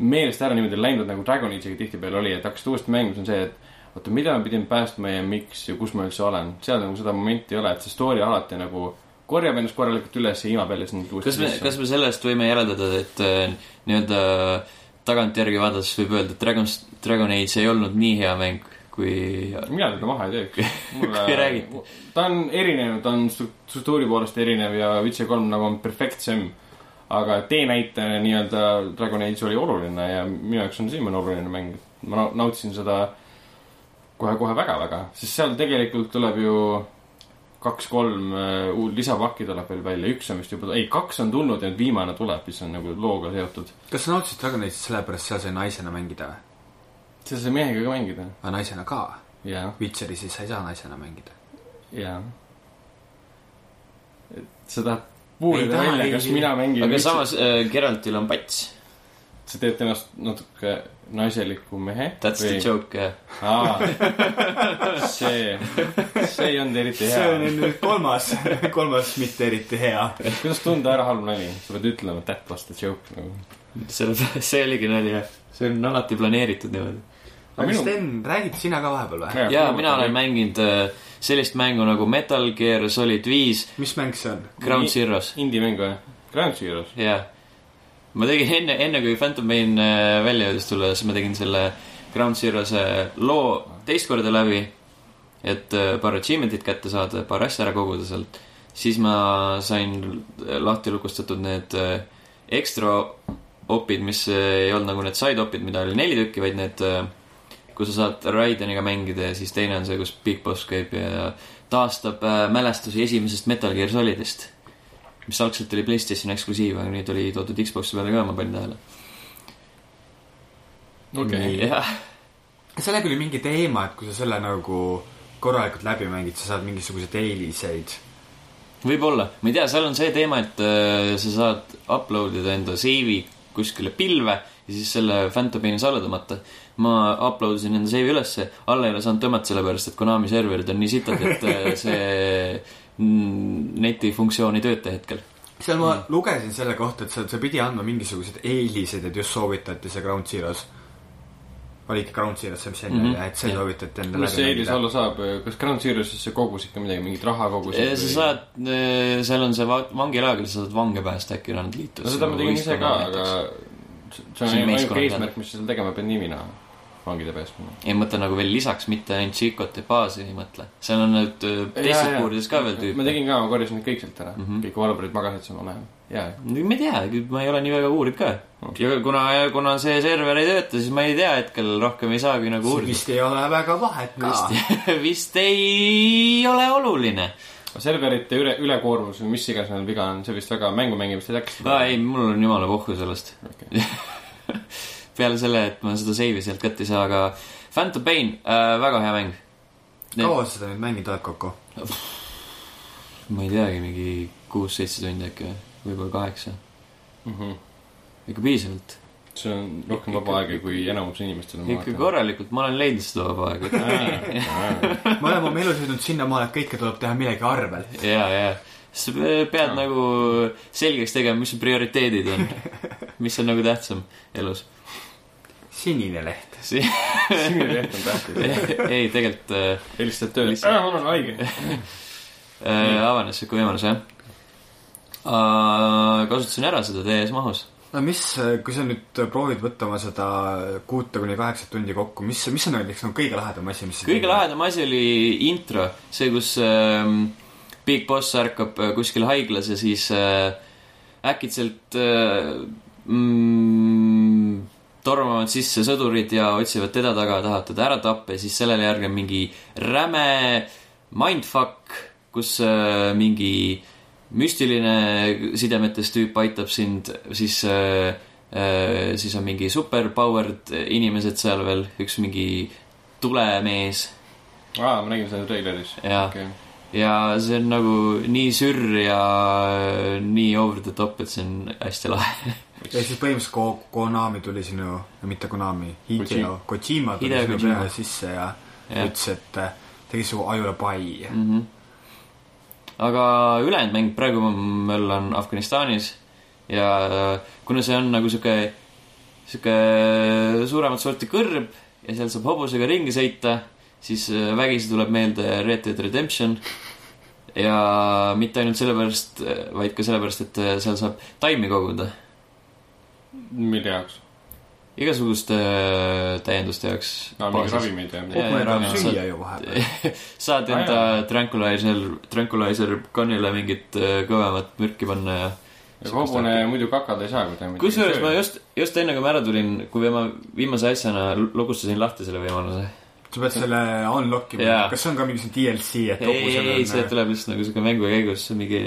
Speaker 2: meelest ära niimoodi läinud , nagu Dragon Age'iga tihtipeale oli , et hakkasid uuesti mängima , see on see , et oota , mida ma pidin päästma ja miks ja kus ma üldse olen , seal nagu seda momenti ei ole , et see story alati nagu korjab ennast korralikult üles ja ilmab jälle sind
Speaker 1: kas me , kas me sellest võime järeldada , et äh, nii-öelda tagantjärgi vaadates võib öelda , et Dragon's , Dragon Age ei olnud nii hea mäng , kui
Speaker 2: mina teda maha ei teeks .
Speaker 1: Kui räägiti.
Speaker 2: ta on erinev , ta on stru- struktuuri poolest erinev ja Witcher kolm nagu on perfektsem . aga teenäitaja nii-öelda Dragon Age oli oluline ja minu jaoks on siiamaani oluline mäng . ma nau- nautisin seda kohe-kohe väga-väga , sest seal tegelikult tuleb ju kaks-kolm äh, uut lisapakki tuleb veel välja , üks on vist juba , ei , kaks on tulnud ja nüüd viimane tuleb , mis on nagu looga seotud .
Speaker 3: kas sa nautisid Dragon Age'it sellepärast seal sai naisena mängida või ?
Speaker 2: sa saad mehega ka mängida .
Speaker 3: aga naisena ka ?
Speaker 2: jaa .
Speaker 3: Witcheri siis sa ei saa naisena mängida .
Speaker 2: jaa . et sa tahad
Speaker 3: Ei
Speaker 2: puurida
Speaker 3: taha,
Speaker 2: välja ,
Speaker 3: ei-
Speaker 2: kas mina mängin
Speaker 1: aga
Speaker 2: üldse-
Speaker 1: samas äh, Geraltil on pats .
Speaker 2: sa teed temast natuke naiseliku mehe .
Speaker 1: That's the joke , eh. jah .
Speaker 2: joke . see , see ei olnud eriti
Speaker 3: see on
Speaker 2: hea .
Speaker 3: nüüd kolmas , *laughs* kolmas mitte eriti hea .
Speaker 2: kuidas tunda ära halb nali , sa pead ütlema , et that was the joke nagu .
Speaker 1: selle , see oligi nali , jah . see on alati planeeritud niimoodi .
Speaker 3: aga
Speaker 2: Minu-
Speaker 3: minu... Sten , räägid sina ka vahepeal või ?
Speaker 1: jaa , mina olen . mänginud äh, sellist mängu nagu Metal Gear Solid viis ,
Speaker 3: mis mäng see on ?
Speaker 1: Ground
Speaker 2: Nii.
Speaker 1: Zeroes ,
Speaker 2: indie-mäng või ? Grand Zeroes .
Speaker 1: jaa . ma tegin enne , enne kui Phantom Pain äh, välja jõudis tulla , siis ma tegin selle Ground Zeroes'e loo teist korda läbi , et äh, paar achievement'it kätte saada , paar asja ära koguda sealt . siis ma sain lahti lukustatud need äh, ekstra opid , mis äh, ei olnud nagu need side opid , mida oli neli tükki , vaid need , kus sa saad Raideniga mängida ja siis teine on see , kus Big Boss käib ja taastab äh, mälestusi esimesest Metal Gear Solidist , mis algselt oli PlayStation eksklusiiv , aga nüüd oli toodud Xbox'i peale ka , ma panin tähele .
Speaker 2: okei .
Speaker 1: jah ,
Speaker 3: sellega oli mingi teema , et kui sa selle nagu korralikult läbi mängid , sa saad mingisuguseid eeliseid .
Speaker 1: võib-olla , ma ei tea , seal on see teema , et äh, sa saad upload ida enda seivi kuskile pilve ja siis selle Phantom Paini alla tõmmata . ma upload isin enda seivi ülesse , alla ei ole saanud tõmmata , sellepärast et Konami serverid on nii sitad , et
Speaker 2: *laughs*
Speaker 1: äh, see mm, netifunktsioon ei tööta hetkel .
Speaker 3: seal ma mm. lugesin selle kohta , et seal , see pidi andma mingisugused eelised , et just soovitati see Ground Zeroes . oli ikka Ground Zeroes see , mis enne oli
Speaker 1: Mhm. ,
Speaker 3: et see
Speaker 1: Jah.
Speaker 3: soovitati endale
Speaker 2: mis see eelis . olla saab , kas Grand Zeroesisse kogus ikka midagi , mingit raha kogusid ?
Speaker 1: sa saad , seal on see va- vangilaager , sa saad vange päästa , äkki nad liituvad .
Speaker 2: no seda ma tegin ise ka , aga see see on
Speaker 1: See on
Speaker 2: ainuke
Speaker 1: meeskonnad,
Speaker 2: eesmärk , mis sa seal tegema pead , nimi näha , vangide päästmine .
Speaker 1: ei mõtle nagu veel lisaks , mitte ainult Chicot ja Baasi ei mõtle . seal on need äh, teistes puurides ka veel
Speaker 2: ma
Speaker 1: tüüpe .
Speaker 2: tegin ka , ma korjasin need kõik sealt ära mm ,
Speaker 1: Mhm.
Speaker 2: -hmm. kõik valvurid magasid seal , ma näen . jaa ,
Speaker 1: ma ei tea , ma ei ole nii väga uurinud ka . ja kuna , kuna see server ei tööta , siis ma ei tea hetkel rohkem ei saagi nagu uurida .
Speaker 3: vist ei ole väga vahet ka .
Speaker 1: *laughs* vist ei ole oluline .
Speaker 2: serverite üle , ülekoormus või mis iganes neil viga on , see vist väga mängu mängimist ei
Speaker 1: aa
Speaker 2: tekita .
Speaker 1: ei , mul on jumala puhku sellest .
Speaker 2: Okay.
Speaker 1: *laughs* peale selle , et ma seda seivi sealt kätte ei saa , aga Phantom Pain äh, , väga hea mäng .
Speaker 3: kaua sa seda nüüd mängid , oled kokku ?
Speaker 1: ma ei teagi , mingi kuus-seitse tundi äkki või , võib-olla kaheksa ,
Speaker 2: Mm -hmm.
Speaker 1: ikka piisavalt .
Speaker 2: see on rohkem vaba aega , kui enamus inimestel on .
Speaker 1: ikka . korralikult , ma olen leidnud seda vaba
Speaker 2: *laughs*
Speaker 1: aega .
Speaker 3: me oleme oma elus jõudnud sinnamaale , et kõike tuleb teha millegi arvel .
Speaker 1: ja , ja , sa pe- pead
Speaker 2: Jaa.
Speaker 1: nagu selgeks tegema , mis su prioriteedid on , mis on nagu tähtsam
Speaker 2: *laughs*
Speaker 1: elus .
Speaker 3: sinine leht .
Speaker 2: sinine leht on tähtis .
Speaker 1: *laughs* ei , tegelikult äh,
Speaker 2: helistad tööle ,
Speaker 1: Lihtsalt.
Speaker 2: mul on haige .
Speaker 1: äh, avanes siuke võimalus , jah . kasutasin ära seda täies mahus .
Speaker 3: no mis , kui sa nüüd proovid võtta oma seda kuute kuni kaheksat tundi kokku , mis , mis on näiteks no, kõige lahedam asi , mis sa
Speaker 1: kõige
Speaker 3: teinud oled?
Speaker 1: lahedam asi oli intro , see , kus ähm, Big Boss ärkab äh, kuskil haiglas ja siis äh, äkitselt äh, mm, tormavad sisse sõdurid ja otsivad teda taga , tahavad teda ära tappa ja siis sellele järgneb mingi räme mindfuck , kus äh, mingi müstiline sidemetes tüüp aitab sind , siis äh, äh, siis on mingi superpowered inimesed seal veel , üks mingi tulemees
Speaker 2: aa , ma nägin seda treileris .
Speaker 1: ja
Speaker 2: okei .
Speaker 1: ja see on nagu nii sürr ja äh, nii over the top , et see on hästi lahe . *laughs*
Speaker 3: ja siis põhimõtteliselt Ko- , Konami tuli sinu , mitte Konami , Hideo Kojima tuli
Speaker 1: Hideo
Speaker 3: sinu
Speaker 1: Kojima.
Speaker 3: peale sisse ja
Speaker 1: Jah.
Speaker 3: ütles , et äh, tegi su ajule pai .
Speaker 1: mm . -hmm. aga ülejäänud mäng , praegu ma- meil on Afganistanis ja kuna see on nagu sihuke , sihuke suuremat sorti kõrb ja seal saab hobusega ringi sõita , siis äh, vägisi tuleb meelde Red Dead Redemption . ja mitte ainult sellepärast , vaid ka sellepärast , et äh, seal saab taimi koguda
Speaker 2: mille jaoks ?
Speaker 1: igasuguste äh, täienduste jaoks
Speaker 2: aa , mingi . ravimeid ja midagi
Speaker 1: Jaa. .
Speaker 3: kohe tahab
Speaker 1: Ragnar,
Speaker 3: süüa
Speaker 1: sa-
Speaker 3: ju vahepeal .
Speaker 1: saad
Speaker 2: Aa,
Speaker 1: enda tranquilizer , tranquilizer kannile mingit äh, kõvemat mürki panna ja
Speaker 2: aga hobune muidu kakada ei saa , kui ta midagi
Speaker 1: kusjuures ma . just , just enne kui ma ära tulin , kui ma viimase asjana lugustasin lahti selle võimaluse .
Speaker 3: sa pead selle unlock ima
Speaker 1: Jaa. ,
Speaker 3: kas see on ka mingisugune DLC , et äh,
Speaker 1: ei , ei , ei , see
Speaker 3: hobusel on ,
Speaker 1: tuleb lihtsalt nagu siuke mängu käigus mingi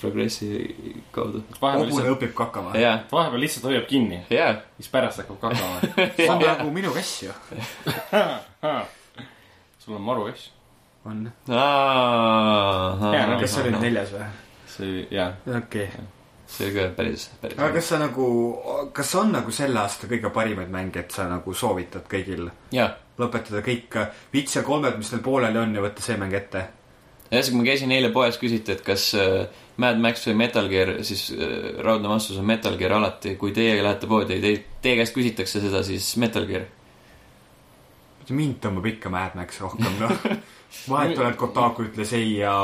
Speaker 1: progressi kaudu .
Speaker 2: vahepeal
Speaker 3: hobune
Speaker 2: lihtsalt ,
Speaker 3: õpib kakama .
Speaker 1: ja ,
Speaker 2: vahepeal lihtsalt hoiab kinni ,
Speaker 1: ja ,
Speaker 2: siis pärast hakkab kakama .
Speaker 3: see on nagu minu kass ju .
Speaker 2: sul on maru asju .
Speaker 3: on .
Speaker 2: Jaa, no
Speaker 1: aa ,
Speaker 3: kas see oli nüüd neljas või ?
Speaker 2: see oli , jaa .
Speaker 3: okei .
Speaker 1: see oli ka päris , päris
Speaker 3: aga . kas sa nagu , kas on nagu selle aasta kõige parimaid mänge , et sa nagu soovitad kõigil
Speaker 1: jaa
Speaker 3: lõpetada kõik äh, Witcher kolmed , mis neil pooleli on ja võtta see mäng ette ?
Speaker 1: ühesõnaga , ma käisin eile poes , küsiti , et kas äh, Mad Max või Metal Gear , siis äh, raudne vastus on Metal Gear alati . kui teie lähete poodi ja te, teie käest küsitakse seda , siis Metal Gear .
Speaker 3: mind tõmbab ikka Mad Max rohkem , noh . vahet ei ole , et Kotaku ütles ei ja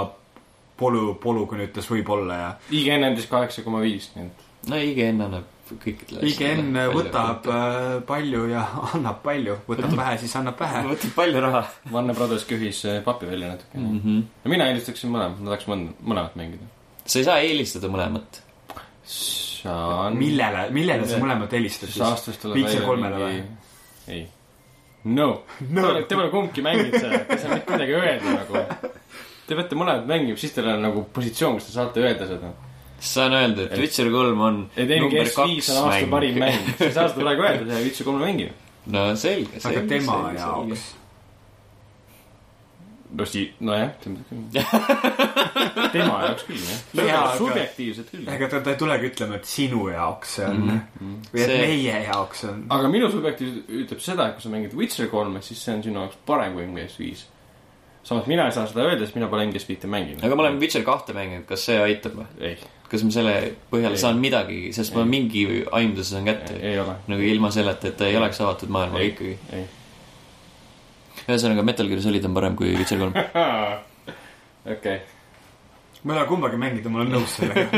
Speaker 3: Polu , Polugen ütles võib-olla ja .
Speaker 2: IGN andis kaheksa koma viis , nii et
Speaker 1: no IGN annab kõikidele .
Speaker 3: IGN võtab . äh, palju ja *laughs* annab palju , võtab vähe , siis annab vähe .
Speaker 1: võtab palju raha
Speaker 2: Warner Brothers kühis eh, papi välja natukene mm .
Speaker 1: mm . -hmm.
Speaker 2: -hmm. mina eelistaksin mõlemat , ma tahaks mõn- mõlemat mängida .
Speaker 1: sa ei saa eelistada mõlemat .
Speaker 2: saan .
Speaker 3: millele , millele sa mõlemad helistad
Speaker 2: siis
Speaker 3: siis ?
Speaker 2: aastas tuleb
Speaker 3: Witcher kolmele või ??
Speaker 2: ei . no, no. , te pole kumbki mänginud seda , te ei saa mitte midagi öelda nagu . Te peate mõlemad mängima , siis teil on nagu positsioon , kus te saate öelda seda .
Speaker 1: saan öelda , et Witcher kolm on
Speaker 2: et eelmine
Speaker 1: number
Speaker 2: S5
Speaker 1: kaks
Speaker 2: on aasta parim
Speaker 1: mäng . *laughs*
Speaker 2: mäng , sa ei saa seda praegu öelda , see Witcher kolme mängib .
Speaker 1: no selge , selge .
Speaker 3: aga tema jaoks .
Speaker 2: no sii- , nojah , tema küll . tema jaoks küll , jah
Speaker 3: Jaa, . aga-
Speaker 2: subjektiivselt küll .
Speaker 3: ega ta , ta ei tulegi ütlema , et sinu jaoks see on mm -hmm. või et
Speaker 1: See-
Speaker 3: see... meie jaoks on .
Speaker 2: aga minu subjektiivsus ütleb seda , et kui sa mängid Witcher kolme , siis see on sinu jaoks parem kui MGS5 . samas mina ei saa seda öelda , sest mina pole MGS5-e mänginud .
Speaker 1: aga ma olen Witcher kahte mänginud , kas see aitab või ?
Speaker 2: ei ,
Speaker 1: kas ma selle põhjal
Speaker 2: Ei.
Speaker 1: saan midagi , sest ma
Speaker 2: Ei.
Speaker 1: mingi aimduse saan kätte ?
Speaker 2: ei ole .
Speaker 1: nagu ilma selleta , et ta ei oleks avatud maailmaga
Speaker 2: Ei.
Speaker 1: ikkagi .
Speaker 2: ei . *laughs*
Speaker 1: ühesõnaga , Metal Gear Solid on parem kui Witcher kolm .
Speaker 2: okei .
Speaker 3: ma ei ole kumbagi mängida , ma olen nõus sellega .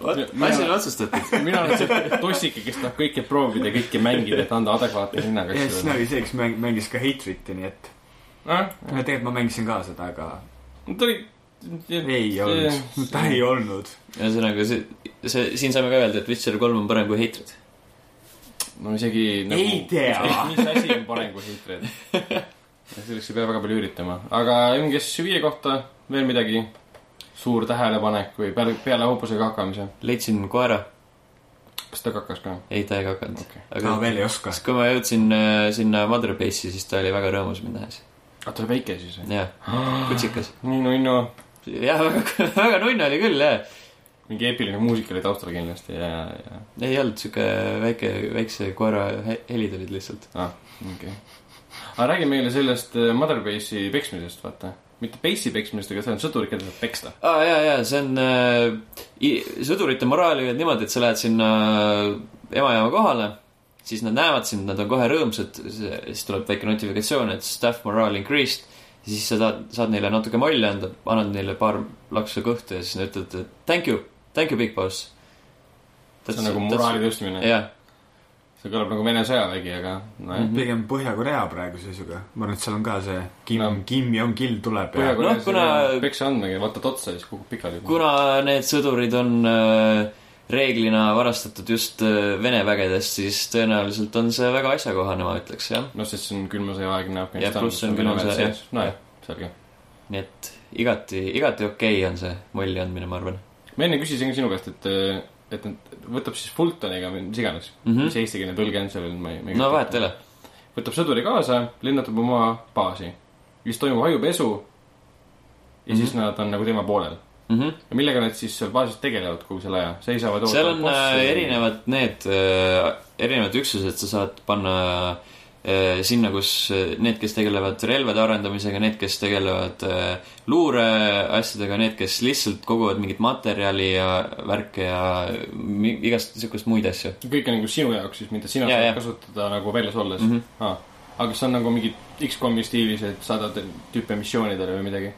Speaker 2: Mina-
Speaker 1: asi on otsustatud .
Speaker 2: mina olen see tossike , kes tahab kõike proovida ja kõike mängida , et anda adekvaatne hinnaga
Speaker 3: ja siis . oli see , kes mäng, mängis ka Hatred'i , nii et .
Speaker 2: Noh,
Speaker 3: tegelikult ma mängisin ka seda , aga
Speaker 2: ta oli .
Speaker 3: ei olnud , ta ei olnud .
Speaker 1: ühesõnaga , see , see , siin saame ka öelda , et Witcher kolm on parem kui Hatred .
Speaker 2: no isegi nagu,
Speaker 3: Ei tea.
Speaker 2: mis asi on parem kui Hitler . selleks ei pea väga palju üritama , aga MGS viie kohta veel midagi ? suur tähelepanek või peale , peale hobusega hakamise ,
Speaker 1: leidsin koera ,
Speaker 2: kas ta kakas ka ?
Speaker 1: ei ta ei kakanud okay. .
Speaker 2: Okei.
Speaker 3: ma
Speaker 1: aga
Speaker 3: veel ei oska .
Speaker 1: siis , kui ma jõudsin äh, sinna Mother Base'i , siis ta oli väga rõõmus mind nähes .
Speaker 2: aga ta oli väike siis *gasps* või ?
Speaker 1: jah , kutsikas .
Speaker 2: Ninnu , Ninnu ,
Speaker 1: jah , väga , *laughs* väga nunn oli küll , jah .
Speaker 2: mingi eepiline muusika oli taustal kindlasti ja , ja ,
Speaker 1: ei olnud sihuke väike , väikse koera he- helid olid lihtsalt .
Speaker 2: aa , Ah, okei okay. . aga räägi meile sellest äh, Mother Base'i peksmisest , vaata . mitte base'i peksmisest , aga see on sõdurid , keda saab peksta .
Speaker 1: aa ah, , jaa , jaa , see on äh, , sõdurite moraali on niimoodi , et sa lähed sinna äh, emajaama kohale , siis nad näevad sind , nad on kohe rõõmsad , siis tuleb väike notifikatsioon , et staff morale increased , siis sa saad , saad neile natuke molli anda , annad neile paar laksu kõhtu ja siis nad ütlevad , et thank you , thank you , big boss .
Speaker 2: see on nagu moraali . tõstmine .
Speaker 1: jah ,
Speaker 2: see kõlab nagu Vene sõjavägi , aga nojah .
Speaker 1: Mm.
Speaker 3: pigem Põhja-Korea praeguse seisuga . ma arvan , et seal on ka see Kim
Speaker 2: No.
Speaker 3: no. , Kim Jong-il tuleb ja
Speaker 1: Põhja-
Speaker 2: Põhja-Koreas
Speaker 1: Noh, kuna-
Speaker 2: no, peksa andmegi , vaatad otsa ja siis kukub pikali .
Speaker 1: kuna need sõdurid on äh, reeglina varastatud just äh, Vene vägedest , siis tõenäoliselt on see väga asjakohane , ma ütleks , jah .
Speaker 2: noh , sest see on külma sõja aegne Afganistan .
Speaker 1: Jah, pluss see on külma sõja- jah.
Speaker 2: nojah , selge .
Speaker 1: nii et igati , igati okei okay on see molli andmine , ma arvan
Speaker 2: ma enne küsisin ka sinu käest , et , et nad , võtab siis Fultoniga või mis iganes mm ,
Speaker 1: mm .
Speaker 2: -hmm. mis
Speaker 1: -hmm.
Speaker 2: eestikeelne tõlge on sellel , ma ei, ma ei .
Speaker 1: no vahet ei ole ..
Speaker 2: võtab sõduri kaasa , lennatab oma baasi , siis toimub ajupesu ja
Speaker 1: Mhm.
Speaker 2: siis nad on nagu tema poolel .
Speaker 1: Mm -hmm.
Speaker 2: ja millega nad siis seal baasis tegelevad kogu selle aja , seisavad .
Speaker 1: seal on äh, . erinevad need , erinevad üksused , sa saad panna äh, sinna , kus äh, need , kes tegelevad relvade arendamisega , need , kes tegelevad äh, luureasjadega , need , kes lihtsalt koguvad mingit materjali ja värke ja mi- igast niisugust muid asju .
Speaker 2: kõik on nagu sinu jaoks siis , mida sina
Speaker 1: Jaa,
Speaker 2: saad
Speaker 1: jah.
Speaker 2: kasutada nagu väljas olles
Speaker 1: Mhm.
Speaker 2: ah. . aga kas see on nagu mingi X-komi stiilis , et saadad tüüpe missioonidele või midagi ?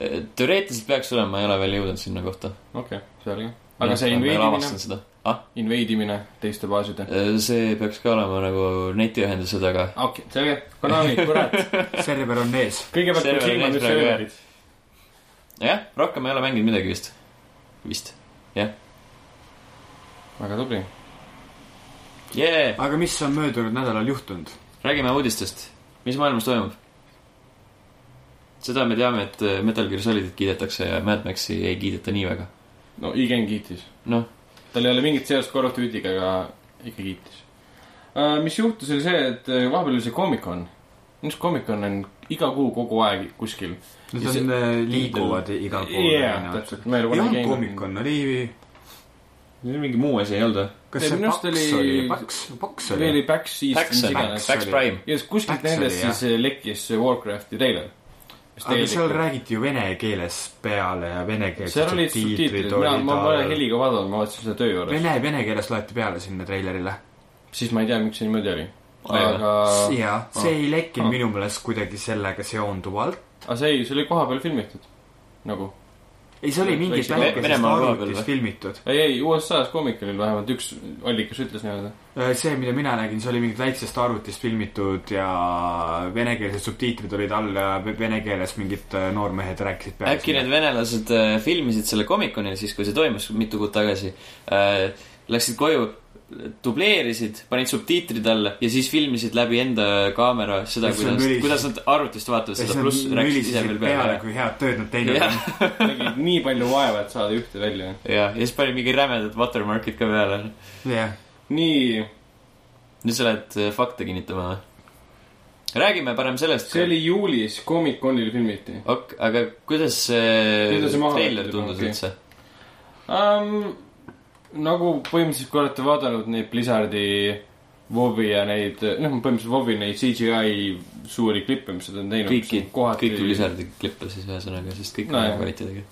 Speaker 1: Äh, teoreetiliselt peaks olema , ma ei ole veel jõudnud sinna kohta .
Speaker 2: okei okay, , selge . aga see inveidimine ,
Speaker 1: seda .
Speaker 2: inveidimine teiste baaside .
Speaker 1: Äh, see peaks ka olema nagu netiühenduse taga .
Speaker 2: okei okay, , selge .
Speaker 1: *laughs*
Speaker 2: Konami , kurat .
Speaker 3: server on ees .
Speaker 2: kõigepealt on
Speaker 1: Serveri
Speaker 2: silmad
Speaker 1: ees
Speaker 2: ja
Speaker 1: praegu, jah.
Speaker 2: serverid .
Speaker 1: jah , rohkem ei ole mänginud midagi vist . vist .
Speaker 2: väga tubli .
Speaker 1: jee ,
Speaker 3: aga mis on möödunud nädalal juhtunud ?
Speaker 1: räägime uudistest . mis maailmas toimub ? seda me teame , et äh, Metal Gear Solidit kiidetakse ja Mad Maxi ei kiideta nii väga .
Speaker 2: no Igen kiitis .
Speaker 1: noh ,
Speaker 2: tal ei ole mingit seost Call of Duty'ga , aga ikka kiitis uh, . mis juhtus , oli see , et äh, vahepeal oli see Comic-Con . mis Comic-Con on iga kuu kogu aeg kuskil .
Speaker 3: Nad
Speaker 2: Ja see-
Speaker 3: on , liiguvad igal pool .
Speaker 2: jah , täpselt . ma
Speaker 3: ei olnud Comic-Con , oli ,
Speaker 1: mingi muu asi ei olnud või ?
Speaker 3: kas
Speaker 2: Ei,
Speaker 3: see
Speaker 2: minu arust
Speaker 3: paks
Speaker 2: oli-
Speaker 3: oli, oli , paks , paks
Speaker 2: see
Speaker 3: oli .
Speaker 2: oli Back East ,
Speaker 1: Pax
Speaker 2: mis
Speaker 1: on ,
Speaker 2: iganes .
Speaker 1: Pax
Speaker 3: oli.
Speaker 1: Prime .
Speaker 2: ja siis kuskilt
Speaker 3: Pax
Speaker 2: nendest
Speaker 3: oli, jah.
Speaker 2: siis äh, lekkis see Warcrafti treiler .
Speaker 3: aga seal räägiti ju vene keeles peale ja
Speaker 2: seal olid
Speaker 3: venekeelsed
Speaker 2: subtiitrid ,
Speaker 3: tiitrid
Speaker 2: mina ,
Speaker 3: olid
Speaker 2: ma pole
Speaker 3: all .
Speaker 2: heliga vaadanud , ma vaatasin seda töö juures .
Speaker 3: Vene , vene keeles loeti peale sinna treilerile .
Speaker 2: siis ma ei tea , miks see niimoodi oli .
Speaker 1: Aa, jah.
Speaker 2: aga ,
Speaker 3: jaa , see ei
Speaker 2: Ah.
Speaker 3: lekkinud minu meelest kuidagi sellega seonduvalt .
Speaker 2: aga see ei , see oli kohapeal filmitud . nagu ,
Speaker 3: ei , see oli mingis
Speaker 2: Võiks-
Speaker 3: väikeses
Speaker 1: Venemaa koha peal
Speaker 3: arvutis
Speaker 1: või?
Speaker 3: filmitud .
Speaker 2: ei , ei USA-s koomikalil vähemalt üks allikas ütles niimoodi .
Speaker 3: Äh, see , mida mina nägin , see oli mingit väiksest arvutist filmitud ja venekeelsed subtiitrid olid all ja ve- vene keeles mingid äh, noormehed rääkisid peale .
Speaker 1: äkki need venelased äh, filmisid selle Comic-Conil siis , kui see toimus mitu kuud tagasi äh, . Läksid koju , dubleerisid , panid subtiitrid alla ja siis filmisid läbi enda kaamera seda ,
Speaker 3: Ja siis nad
Speaker 1: kuidas ,
Speaker 3: mülisesid.
Speaker 1: kuidas nad arvutist vaatavad
Speaker 3: ja
Speaker 1: seda ,
Speaker 3: siis nad
Speaker 1: pluss rääkisid ise
Speaker 3: mülisisid
Speaker 1: veel
Speaker 3: peale
Speaker 1: peale .,
Speaker 3: kui head tööd nad teinud
Speaker 1: Jah.
Speaker 3: on .
Speaker 2: tegid nii palju vaeva , et saada ühte välja .
Speaker 1: ja , ja siis panin mingi rämedad watermarkid ka peale .
Speaker 3: jah ,
Speaker 2: nii ,
Speaker 1: nüüd sa lähed äh, fakte kinnitama või ? räägime parem sellest .
Speaker 2: see oli juulis Comic-Conil filmiti
Speaker 1: ok, aga kuidas see
Speaker 2: Kuidas see maha
Speaker 1: treiler
Speaker 2: võeti,
Speaker 1: tundus
Speaker 2: okei.
Speaker 1: üldse ?
Speaker 2: um, . nagu põhimõtteliselt , kui olete vaadanud neid Blizzardi WoW-i ja neid , noh , põhimõtteliselt WoW-i neid CGI suuri klippe , mis nad on teinud .
Speaker 1: kõiki , kõiki Blizzardi klippe siis ühesõnaga , sest kõik on
Speaker 2: No
Speaker 1: hea
Speaker 2: jah.
Speaker 1: kvaliteediga .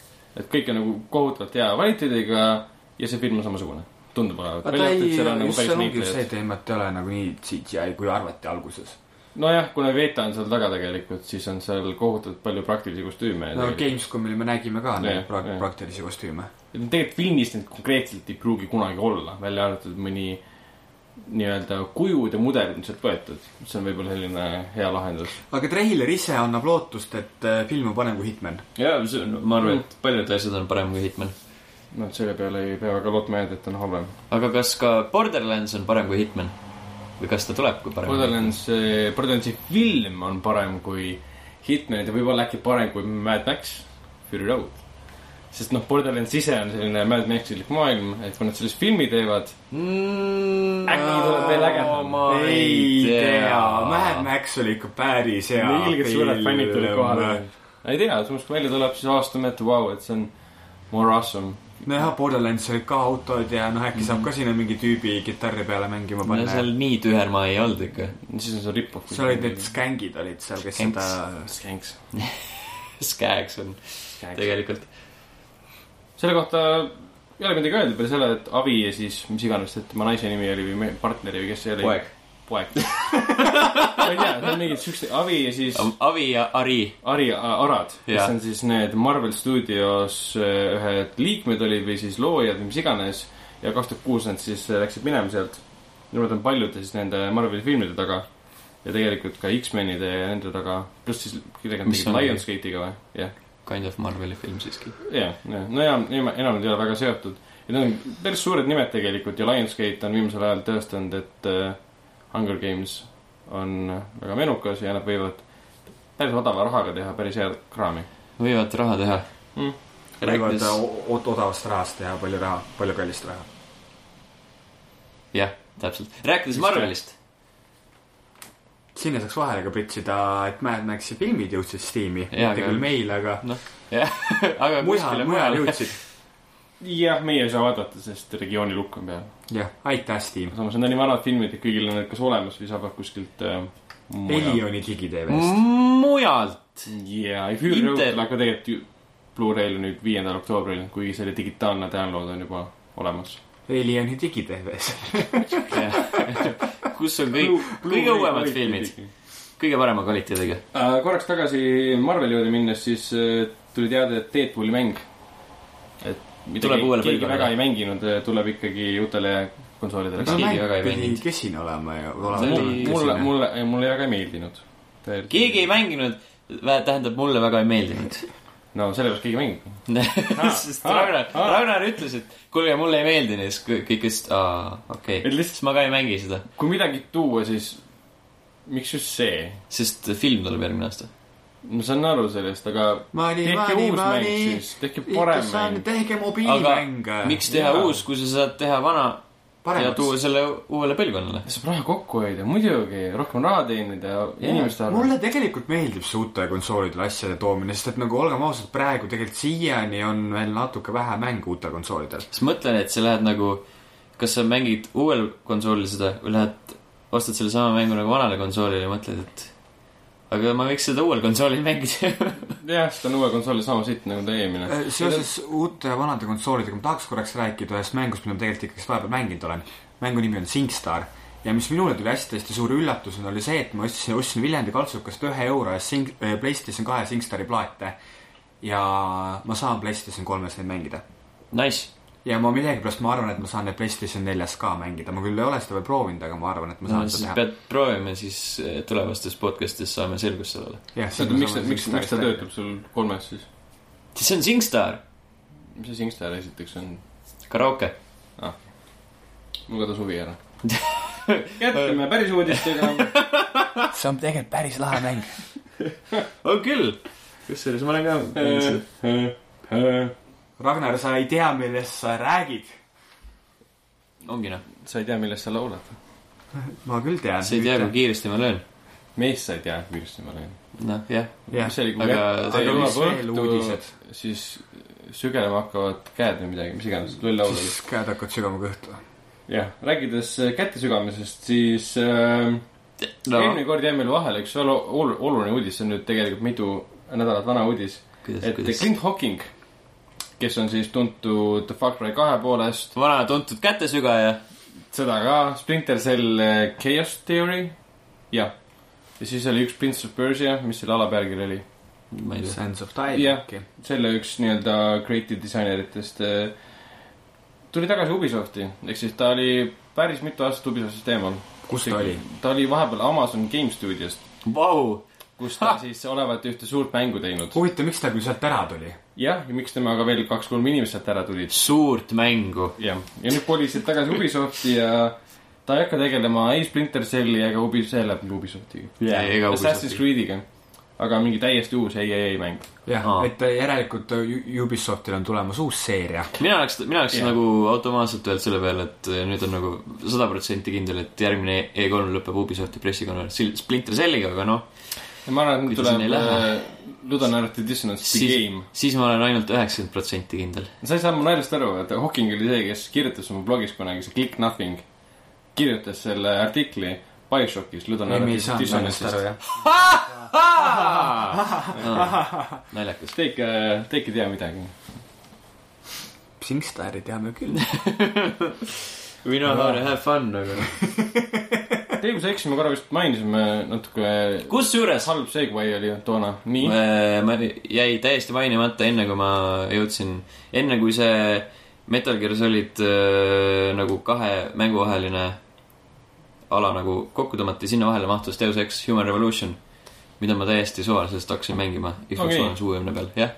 Speaker 2: et kõik on nagu kohutavalt hea kvaliteediga ja see film on samasugune , tundub olevat .
Speaker 3: vaata
Speaker 1: nagu
Speaker 3: ei ,
Speaker 2: nagu
Speaker 3: just seal ongi just see teema , et ei ole nagu nii CGI , kui arvati alguses .
Speaker 2: nojah , kuna Veta on seal taga tegelikult , siis on seal kohutavalt palju praktilisi kostüüme .
Speaker 3: no Gamescomil me nägime ka
Speaker 2: Jah,
Speaker 3: neid pra-
Speaker 2: jah.
Speaker 3: praktilisi kostüüme .
Speaker 2: et no tegelikult filmis neid konkreetselt ei pruugi kunagi olla , välja arvatud mõni nii-öelda kujud ja mudelid on sealt võetud , see on võib-olla selline hea lahendus .
Speaker 3: aga treiler ise annab lootust , et äh, film on parem kui Hitman .
Speaker 1: jaa , ma arvan , et paljud asjad on parem kui Hitman .
Speaker 2: noh , et selle peale ei pea väga lootma jääda , et on halvem .
Speaker 1: aga kas ka Borderlands on parem kui Hitman ? või kas ta tuleb kui parem ?
Speaker 2: Borderlands , Borderlandsi film on parem kui Hitmanid ja võib-olla äkki parem kui Mad Max Fury Road . sest noh , Borderlands ise on selline Mad Maxilik maailm , et kui nad sellest filmi teevad , äkki tuleb veel ägedam.
Speaker 3: Mm, ei tea , Mad Max oli ikka päris hea .
Speaker 2: ilgelt suured fännid tulid kohale . ei tea , samas kui välja tuleb , siis avastame , et vau , et see on more awesome .
Speaker 3: nojah , Borderlands olid ka autod ja noh , äkki saab ka sinna mingi tüübi kitarri peale mängima
Speaker 1: no
Speaker 3: panna
Speaker 1: seal . nii tühermaa ei olnud ikka . *laughs*
Speaker 2: siis on see ripp-off .
Speaker 3: seal olid need skängid olid seal , kes
Speaker 1: Skänks.
Speaker 3: seda ,
Speaker 2: skanks .
Speaker 1: Skags on tegelikult .
Speaker 2: selle kohta ei ole midagi öelda peale selle , et Avi ja siis mis iganes , et tema naise nimi oli või me- partneri või kes see oli .. *laughs* poeg . ma ei tea , need on mingid siuksed , Avi ja siis
Speaker 1: Avi ja Ari .
Speaker 2: Ari Arad , kes
Speaker 1: Jah.
Speaker 2: on siis need Marvel Studios äh, ühed liikmed olid või siis loojad või mis iganes ja kaks tuhat kuus nad siis äh, läksid minema sealt . Nemad on paljude siis nende Marveli filmide taga ja tegelikult ka X-menide ja nende taga , pluss siis kellega nad
Speaker 1: Mis
Speaker 2: tegid
Speaker 1: on-
Speaker 2: Lionsgate'iga või ? jah ,
Speaker 1: Kind of Marveli film siiski .
Speaker 2: jah , jah , no ja enam enam nad ei ole väga seotud . ja need on päris suured nimed tegelikult ja Lionsgate on viimasel ajal tõestanud , et äh, Hunger Games on väga menukas ja nad võivad päris odava rahaga teha päris head kraami .
Speaker 1: võivad raha teha
Speaker 2: Mm. .
Speaker 3: võivad
Speaker 1: rääkides ,
Speaker 3: o- o- odavast rahast teha palju raha , palju kallist raha .
Speaker 1: jah , täpselt . rääkides Marvelist . *laughs*
Speaker 3: sinna saaks vahele ka pritsida , et Mad Maxi filmid jõudsid Steam'i ,
Speaker 1: Jaa,
Speaker 3: mitte
Speaker 1: aga-
Speaker 3: küll meil , aga
Speaker 1: jah , aga
Speaker 3: mujal ,
Speaker 1: kuskile
Speaker 3: mujal
Speaker 1: mujale *laughs*
Speaker 3: jõudsid .
Speaker 2: jah , meie ei saa vaadata , sest regiooni lukk on peal .
Speaker 3: jah , aitäh , Steam .
Speaker 2: samas need on nii vanad filmid , et kõigil on need kas olemas või saavad kuskilt äh,
Speaker 3: neli . oli
Speaker 1: Mm.
Speaker 3: digiteevest .
Speaker 1: mujalt .
Speaker 2: jaa , ei Fury Road
Speaker 1: Inter-
Speaker 2: tuleb ka tegelikult ju Blu-ray'l nüüd viiendal oktoobril , kuigi selle digitaalne download on juba olemas .
Speaker 3: neli oli digiteeves .
Speaker 1: *laughs* kus on kõik , kõige uuemad filmid ,. kõige parema kvaliteediga .
Speaker 2: Äh, korraks tagasi Marveli juurde minnes , siis äh, tuli teada , et Deadpooli mäng . et mida
Speaker 1: Tuleb uuele
Speaker 2: keegi, keegi
Speaker 1: põlvkonnale.
Speaker 2: väga ei mänginud , tuleb ikkagi uutele konsoolidele .
Speaker 1: keegi väga ei mänginud.
Speaker 3: kes siin olema ja
Speaker 1: See
Speaker 3: olema
Speaker 1: oli-
Speaker 2: mulle , mulle , mulle väga ei meeldinud .
Speaker 1: keegi ei mänginud , tähendab , mulle väga ei meeldinud .
Speaker 2: no sellepärast keegi mängib . Ah,
Speaker 1: *laughs* sest
Speaker 2: aa,
Speaker 1: Ragnar ,
Speaker 2: aa.
Speaker 1: Ragnar ütles , et kuulge , mulle ei meeldinud ja siis kõ- kõik ütlesid , aa , okei
Speaker 2: Et
Speaker 1: okay. .
Speaker 2: lihtsalt-
Speaker 1: siis ma ka ei mängi seda ,
Speaker 2: kui midagi tuua , siis miks just see ?
Speaker 1: sest film tuleb järgmine aasta .
Speaker 2: ma saan aru sellest , aga
Speaker 3: Money ,
Speaker 2: tehke
Speaker 3: money ,
Speaker 2: uus mäng
Speaker 3: money .
Speaker 2: siis , tehke parem mäng .
Speaker 3: tehke
Speaker 1: aga
Speaker 3: mobiilimänge .
Speaker 1: miks teha
Speaker 2: Jaa.
Speaker 1: uus , kui sa saad teha vana ja tuua
Speaker 3: paremaks ?
Speaker 1: selle uuele põlvkonnale ?
Speaker 2: saab raha kokku hoida , muidugi , rohkem raha teenida ja inimeste arv .
Speaker 3: mulle tegelikult meeldib see uute konsoolidele asjade toomine , sest et nagu olgem ausad , praegu tegelikult siiani on veel natuke vähe mänge uutel konsoolidel .
Speaker 1: siis mõtlen , et sa lähed nagu , kas sa mängid uuel konsoolil seda või lähed , ostad selle sama mängu nagu vanale konsoolile ja mõtled , et aga ma võiks seda uuel konsoolil mängida .
Speaker 2: jah , seda on uue konsooli sama sitt nagu ta eelmine .
Speaker 3: Äh, seoses uute ja vanade konsoolidega ma tahaks korraks rääkida ühest mängust , mida ma tegelikult ikkagi vahepeal mänginud olen . mängu nimi on SingStar ja mis minule tuli hästi-hästi suure üllatusena , oli see , et ma ostsin , ostsin Viljandi kaltsukast ühe euro eest Sing- , PlayStation kahe SingStari plaate ja ma saan PlayStation kolmes neid mängida
Speaker 1: *laughs* Nice ,
Speaker 3: ja ma millegipärast , ma arvan , et ma saan neid PlayStation neljas ka mängida , ma küll ei ole seda veel proovinud , aga ma arvan , et ma
Speaker 1: no
Speaker 3: saan no,
Speaker 1: siis
Speaker 3: seda teha .
Speaker 1: pead proovima , siis eh, tulevastes podcast'is saame selgust sellele .
Speaker 3: jah ,
Speaker 2: oota , miks , miks , miks ta töötab sul kolmes siis ?
Speaker 1: siis see on SingStar ,
Speaker 2: mis see Singstar esiteks on ?
Speaker 1: karaoke .
Speaker 2: mul kadus huvi ära . *laughs* jätkame päris uudistega .
Speaker 3: see on tegelikult päris lahe mäng .
Speaker 1: on Oh, küll , kusjuures ma olen ka .
Speaker 3: Ragnar , sa ei tea , millest sa räägid .
Speaker 1: ongi noh ,
Speaker 2: *laughs* sa ei tea , millest sa laulad ?
Speaker 3: ma küll tean .
Speaker 1: sa ei tea , kui kiiresti ma löön .
Speaker 2: meest said jääkvirsti , ma nägin .
Speaker 1: noh , jah ,
Speaker 3: jah ,
Speaker 2: mis see oli , kui
Speaker 1: aga
Speaker 2: kätte
Speaker 1: see oli
Speaker 2: sai juba
Speaker 3: mis veel uudised?
Speaker 2: õhtu , siis sügelema hakkavad käed või midagi , mis iganes , loll laul oli
Speaker 3: siis . käed hakkavad sügama kõhtu .
Speaker 2: jah , rääkides käte sügamisest , siis äh, no.
Speaker 1: no
Speaker 2: eelmine kord jäi meil vahele üks väga ol- oluline uudis , see on nüüd tegelikult mitu nädalat vana uudis ,
Speaker 1: kuidas ,
Speaker 2: et
Speaker 1: kuidas
Speaker 2: Clint Hocking , kes on siis tuntud Far Cry kahe poolest ,
Speaker 1: vana tuntud kätesügaja ,
Speaker 2: seda ka , Splinter Cell äh, Chaos Theory , jah . ja siis oli üks Prince of Persia , mis selle ala pealkiri oli .
Speaker 1: ma ei tea ,
Speaker 3: Sands of Time
Speaker 2: Jah.
Speaker 3: äkki .
Speaker 2: selle üks nii-öelda creative disaineritest äh, tuli tagasi Ubisofti , ehk siis ta oli päris mitu aastat Ubisoftist eemal .
Speaker 3: kus ta oli ??
Speaker 2: ta oli vahepeal Amazon Game Studiost ,
Speaker 1: vau ,
Speaker 2: kus ta
Speaker 1: Ha!
Speaker 2: ha! siis olevat ühte suurt mängu teinud .
Speaker 3: huvitav , miks ta küll sealt ära tuli ?
Speaker 2: jah , ja miks temaga veel kaks-kolm inimest sealt ära tulid .
Speaker 1: suurt mängu .
Speaker 2: jah , ja nüüd kolisid tagasi Ubisofti ja ta ei hakka tegelema ei Splinter Celli ega Ubi- , selle , Ubisoftiga
Speaker 1: Jaa, ega
Speaker 2: Assassin's
Speaker 1: Ubisoftiga.
Speaker 2: Creed'iga . aga mingi täiesti uus ei , ei , ei mäng .
Speaker 3: jah
Speaker 1: Aa. ,
Speaker 3: et järelikult Ju- Ubisoftil on tulemas uus seeria .
Speaker 1: mina oleks , mina oleks
Speaker 2: Jah.
Speaker 1: yeah. nagu automaatselt öelnud selle peale , et nüüd on nagu sada protsenti kindel , et järgmine E3 lõpeb Ubisofti pressikonverents Sil- Splinter Celliga , aga noh ,
Speaker 2: ja ma arvan , et
Speaker 1: Kuidas neil
Speaker 2: tuleb
Speaker 1: läheb?
Speaker 2: äh, Ludonarrative Dissonance The
Speaker 1: Siis-
Speaker 2: Game .
Speaker 1: siis ma olen ainult üheksakümmend protsenti *laughs* kindel .
Speaker 2: sa ei saa mu naljast aru , et Hawking oli see , kes kirjutas oma blogis kunagi , see Click Nothing , kirjutas selle artikli
Speaker 3: ei , me
Speaker 2: BioShockis
Speaker 3: ei
Speaker 2: Ludonarrative
Speaker 3: saanud sellest aru
Speaker 2: Dissonance'ist .,
Speaker 3: jah .
Speaker 1: Ah, naljakas .
Speaker 2: Te ikka , te ikka äh, ei tea midagi .
Speaker 3: Singstari teame küll .
Speaker 1: We know how to have fun , aga noh .
Speaker 2: Teie , kui sa eksime , korra vist mainisime natuke ,
Speaker 1: kusjuures
Speaker 2: halb segway oli toona , nii .
Speaker 1: Äh, ma jäi täiesti mainimata , enne kui ma jõudsin , enne kui see Metal Gear Solid äh, nagu kahe mängu vaheline ala nagu kokku tõmmati , sinna vahele mahtus Deus Ex Human Revolution , mida ma täiesti suvaliselt hakkasin mängima Xbox
Speaker 2: Okei.
Speaker 1: One okay. uuemne peal , jah .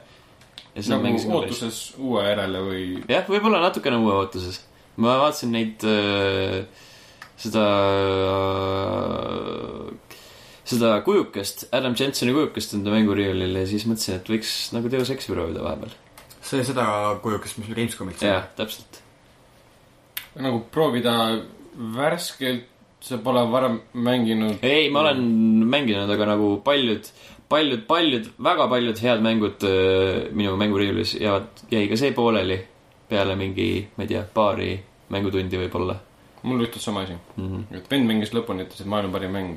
Speaker 1: ja seda
Speaker 2: nagu
Speaker 1: mängisin ka päris .
Speaker 2: ootuses uue järele või
Speaker 1: jah , võib-olla natukene uue ootuses . ma vaatasin neid , seda , seda kujukest , Adam Jensoni kujukest enda mänguriiulil ja siis mõtlesin , et võiks nagu Deus Exi proovida vahepeal .
Speaker 3: see seda kujukest , mis me Gamescomilt saime
Speaker 1: jah , täpselt .
Speaker 2: nagu proovida värskelt , sa pole varem mänginud .
Speaker 1: ei , ma olen mänginud , aga nagu paljud , paljud , paljud , väga paljud head mängud öö, minu mänguriiulis jäävad , jäi ka see pooleli peale mingi , ma ei tea , paari mängutundi võib-olla
Speaker 2: mul juhtus sama asi ,
Speaker 1: mm . -hmm.
Speaker 2: et vend mängis lõpuni , ütles , et maailma parim mäng .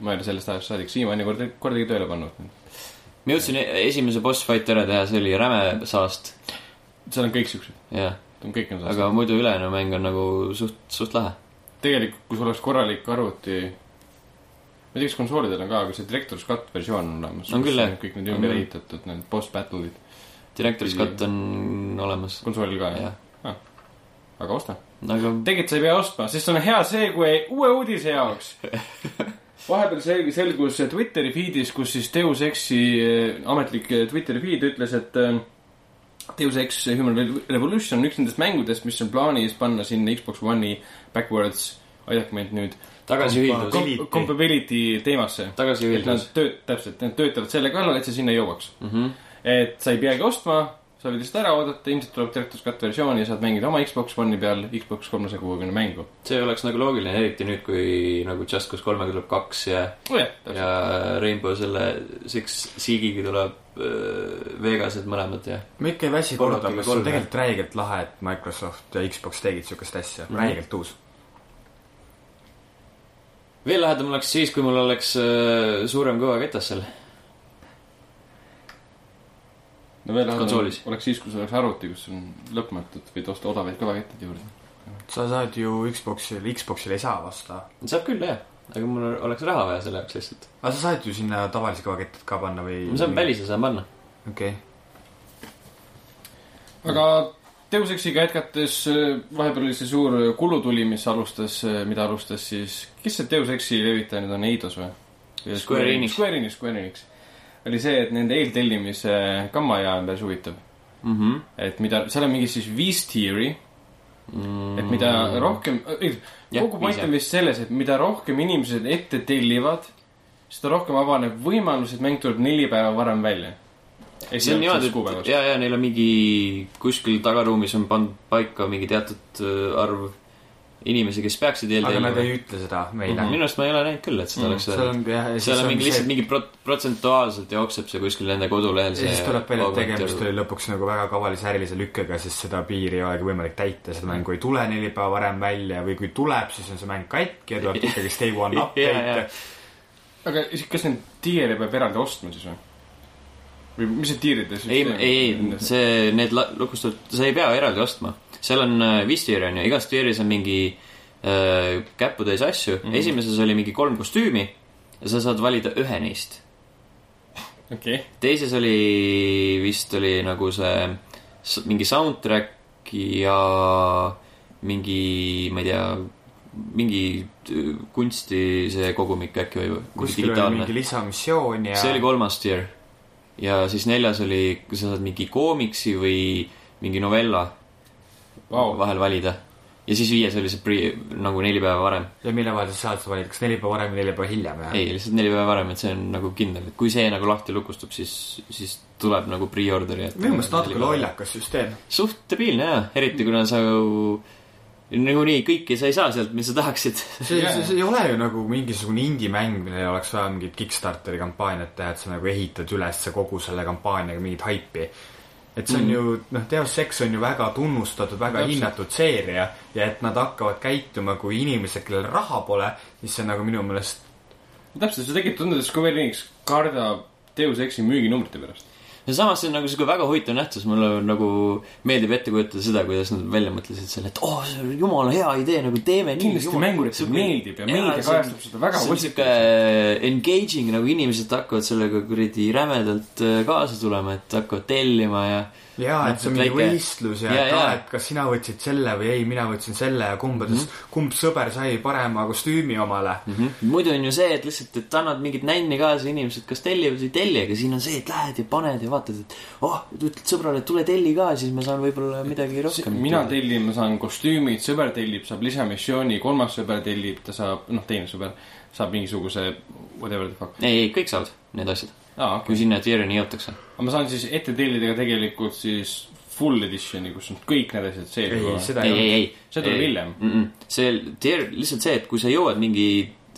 Speaker 2: ma ei ole sellest ajast saadik siiamaani kord , kordagi tööle pannud .
Speaker 1: ma jõudsin e- esimese boss fight'i ära teha , see oli räme saast ,
Speaker 2: seal on kõik siuksed ,
Speaker 1: jah .
Speaker 2: kõik on
Speaker 1: aga muidu ülejäänu mäng on nagu suht , suht lahe .
Speaker 2: tegelikult , kui sul oleks korralik arvuti , ma ei tea , kas konsoolidel on ka , aga see Director's Cut versioon on olemas .
Speaker 1: On küll, jah.
Speaker 2: kõik need
Speaker 1: On
Speaker 2: ümber
Speaker 1: küll.
Speaker 2: ehitatud , need boss battle'id ,
Speaker 1: Director's Cut on olemas .
Speaker 2: konsoolil ka ,
Speaker 1: jah nagu
Speaker 2: jah ., aga osta .
Speaker 1: aga
Speaker 2: tegelikult sa ei pea ostma , sest on hea see , kui uue uudise jaoks vahepeal selg- , selgus Twitteri feed'is , kus siis Deus Exi äh, ametlik äh, Twitteri feed ütles , et äh, Deus Ex Human Re- Revolution on üks nendest mängudest , mis on plaanis panna sinna Xbox One'i backwards , aidake mind nüüd ,
Speaker 1: tagasiühildus ,
Speaker 3: Compatibility.
Speaker 2: Com- compatibility teemasse . et nad
Speaker 1: tagasiühildus .
Speaker 2: tööt- , täpselt , nad töötavad selle kallal , et see sinna jõuaks .
Speaker 1: Mm -hmm.
Speaker 2: et sa ei peagi ostma , sa võid lihtsalt ära oodata , ilmselt tuleb Director's Cut versioon ja saad mängida oma Xbox One'i peal Xbox kolmesaja kuuekümne mängu .
Speaker 1: see oleks nagu loogiline , eriti nüüd , kui nagu Just Cause kolmega tuleb kaks ja ,
Speaker 2: nojah , täpselt .
Speaker 1: ja Rainbow selle Six Siege'iga tuleb äh, Vegased mõlemad ja .
Speaker 3: ma ikka ei väsi
Speaker 1: Kolm
Speaker 3: korda ,
Speaker 1: tükki
Speaker 3: kas see on
Speaker 1: kolme.
Speaker 3: tegelikult räigelt lahe , et Microsoft ja Xbox tegid siukest asja mm ,
Speaker 1: Mhm.
Speaker 3: -hmm. räigelt uus .
Speaker 1: veel lahedam oleks siis , kui mul oleks äh, suurem kõva ketas seal .
Speaker 2: no veel
Speaker 1: Konsoolis.
Speaker 2: oleks oleks siis , kui sul oleks arvuti , kus on lõpmatud , võid osta odavaid kõvakettid juurde .
Speaker 3: sa saad ju Xboxil , Xboxil ei saa osta ,
Speaker 1: saab küll jah , aga mul oleks raha vaja selle jaoks lihtsalt .
Speaker 3: aga sa saad ju sinna tavalise kõvakettid ka panna või ?
Speaker 1: ma
Speaker 2: Mm.
Speaker 1: saan . välise saan panna .
Speaker 3: okei ,
Speaker 2: aga Deus Exiga jätkates , vahepeal oli see suur äh, kulutuli , mis alustas , mida alustas siis , kes see Deus Exi levitaja nüüd on , Eidos või ?
Speaker 1: Square Enix.
Speaker 2: Square Enix , Square Enix . oli see , et nende eeltellimise äh, gammaja on päris huvitav .
Speaker 1: mm .
Speaker 2: Mhm.
Speaker 1: -hmm.
Speaker 2: et mida , seal on mingi siis viis tiiri ,
Speaker 1: Mm
Speaker 2: et mida rohkem ,
Speaker 1: Jah,
Speaker 2: kogu point
Speaker 1: viis, jah.
Speaker 2: on vist selles , et mida rohkem inimesed ette tellivad , seda rohkem avaneb võimalus , et mäng tuleb neli päeva varem välja .
Speaker 1: see on niimoodi , et ja , ja neil on mingi kuskil tagaruumis on pandud paika mingi teatud äh, arv inimesi , kes peaksid
Speaker 3: aga nad
Speaker 1: eelteenima .
Speaker 3: ei ütle seda meile mm .
Speaker 2: Mhm.
Speaker 3: -hmm.
Speaker 1: minu arust ma ei ole näinud küll , et seda oleks
Speaker 3: seal
Speaker 1: öeldud .
Speaker 3: on jah , ja siis
Speaker 1: seal on
Speaker 3: on
Speaker 1: mingi lihtsalt
Speaker 3: see ,
Speaker 1: mingi prot- , protsentuaalselt jookseb see kuskil nende kodulehel .
Speaker 3: ja siis tuleb välja , et tegemist oli lõpuks nagu väga kavalise ärilise lükkega , sest seda piiri ei olegi võimalik täita , seda mängu ei tule neli päeva varem välja või kui tuleb , siis on see mäng katki ja
Speaker 1: *laughs*
Speaker 3: tuleb ikkagi Stay
Speaker 1: *laughs*
Speaker 3: One
Speaker 1: Jaa, jaa.
Speaker 3: update .
Speaker 2: aga siis- kas neid tiire peab eraldi ostma siis või ? või mis see tiiride
Speaker 1: ei , ei , ei , see , need la- lukustatud , sa ei pea eraldi ostma . seal on äh, viis tüüri , on ju , igas tüüris on mingi äh, käputäis asju
Speaker 3: Mhm.
Speaker 1: mm . -hmm. esimeses oli mingi kolm kostüümi ja sa saad valida ühe neist .
Speaker 2: okei ,
Speaker 1: teises oli , vist oli nagu see s- mingi soundtrack ja mingi , ma ei tea , mingi t- kunsti see kogumik äkki või- või
Speaker 3: kuskil oli mingi lisamissioon ja
Speaker 1: see oli kolmas tier . ja siis neljas oli , kui sa saad mingi koomiksi või mingi novella
Speaker 2: vau .
Speaker 1: vahel valida . ja siis viies oli see pre- , nagu neli päeva varem .
Speaker 3: ja mille vahel sa saad valida , kas neli päeva varem või neli päeva hiljem jah ?
Speaker 1: ei , lihtsalt neli päeva varem , et see on nagu kindel , et kui see nagu lahti lukustub , siis , siis tuleb nagu pre-order'i jätta .
Speaker 3: minu meelest natuke . lollakas süsteem .
Speaker 1: suht debiilne jah , eriti kuna sa ju nagunii kõike sa ei saa sealt , mis sa
Speaker 2: *laughs*
Speaker 1: tahaksid .
Speaker 3: see
Speaker 2: Jaa.
Speaker 3: yeah. , see ei ole ju nagu mingisugune indie-mäng , millel oleks vaja mingit Kickstarteri kampaaniat teha , et sa nagu ehitad üles kogu selle kampaaniaga mingit haipi . et see on mm. ju , noh , Deus Ex on ju väga tunnustatud , väga
Speaker 2: Täpselt.
Speaker 3: Täpselt. hinnatud seeria ja et nad hakkavad käituma kui inimesed , kellel raha pole , siis see nagu minu meelest
Speaker 2: täpselt , see tekib tunda , et Square Enix kardab Deus Exi müüginumbrite pärast .
Speaker 1: ja samas see on nagu sihuke väga huvitav nähtus , mulle nagu meeldib ette kujutada seda , kuidas nad välja mõtlesid selle , et oh , see on jumala hea idee , nagu teeme nii .
Speaker 2: kindlasti mänguritele meeldib ja meedia kajastab seda väga
Speaker 1: see on sihuke
Speaker 2: positiivselt .
Speaker 1: engaging nagu inimesed hakkavad sellega kuradi rämedalt äh, kaasa tulema , et hakkavad tellima ja
Speaker 3: jaa , et see on mingi
Speaker 1: väike-
Speaker 3: võistlus ja,
Speaker 1: Jaa,
Speaker 3: ja , et aa
Speaker 1: jaa. ,
Speaker 3: et kas sina võtsid selle või ei , mina võtsin selle ja kumbades mm , -hmm. kumb sõber sai parema kostüümi omale
Speaker 1: mm . -hmm. muidu on ju see , et lihtsalt , et annad mingit nänni kaasa , inimesed kas tellivad või ei telli , aga siin on see , et lähed ja paned ja vaatad , et oh , ütled sõbrale , et tule telli ka , siis ma saan võib-olla midagi rohkem .
Speaker 2: mina . tellin , ma saan kostüümid , sõber tellib , saab lisamissiooni , kolmas sõber tellib , ta saab , noh , teine sõber saab mingisuguse whatever the fuck .
Speaker 1: ei , ei , kõik saavad need asjad ,
Speaker 2: aa , okei
Speaker 1: kui . sinna tier'ini jõutakse .
Speaker 2: aga ma saan siis ette tellida ka tegelikult siis full edition'i , kus on kõik need asjad sees
Speaker 3: ei ,
Speaker 2: juba .
Speaker 3: seda
Speaker 1: ei ,
Speaker 3: ei
Speaker 1: ei ,
Speaker 3: olnud .
Speaker 1: ei .
Speaker 2: see tuleb hiljem. .
Speaker 1: see tier , lihtsalt see , et kui sa jõuad mingi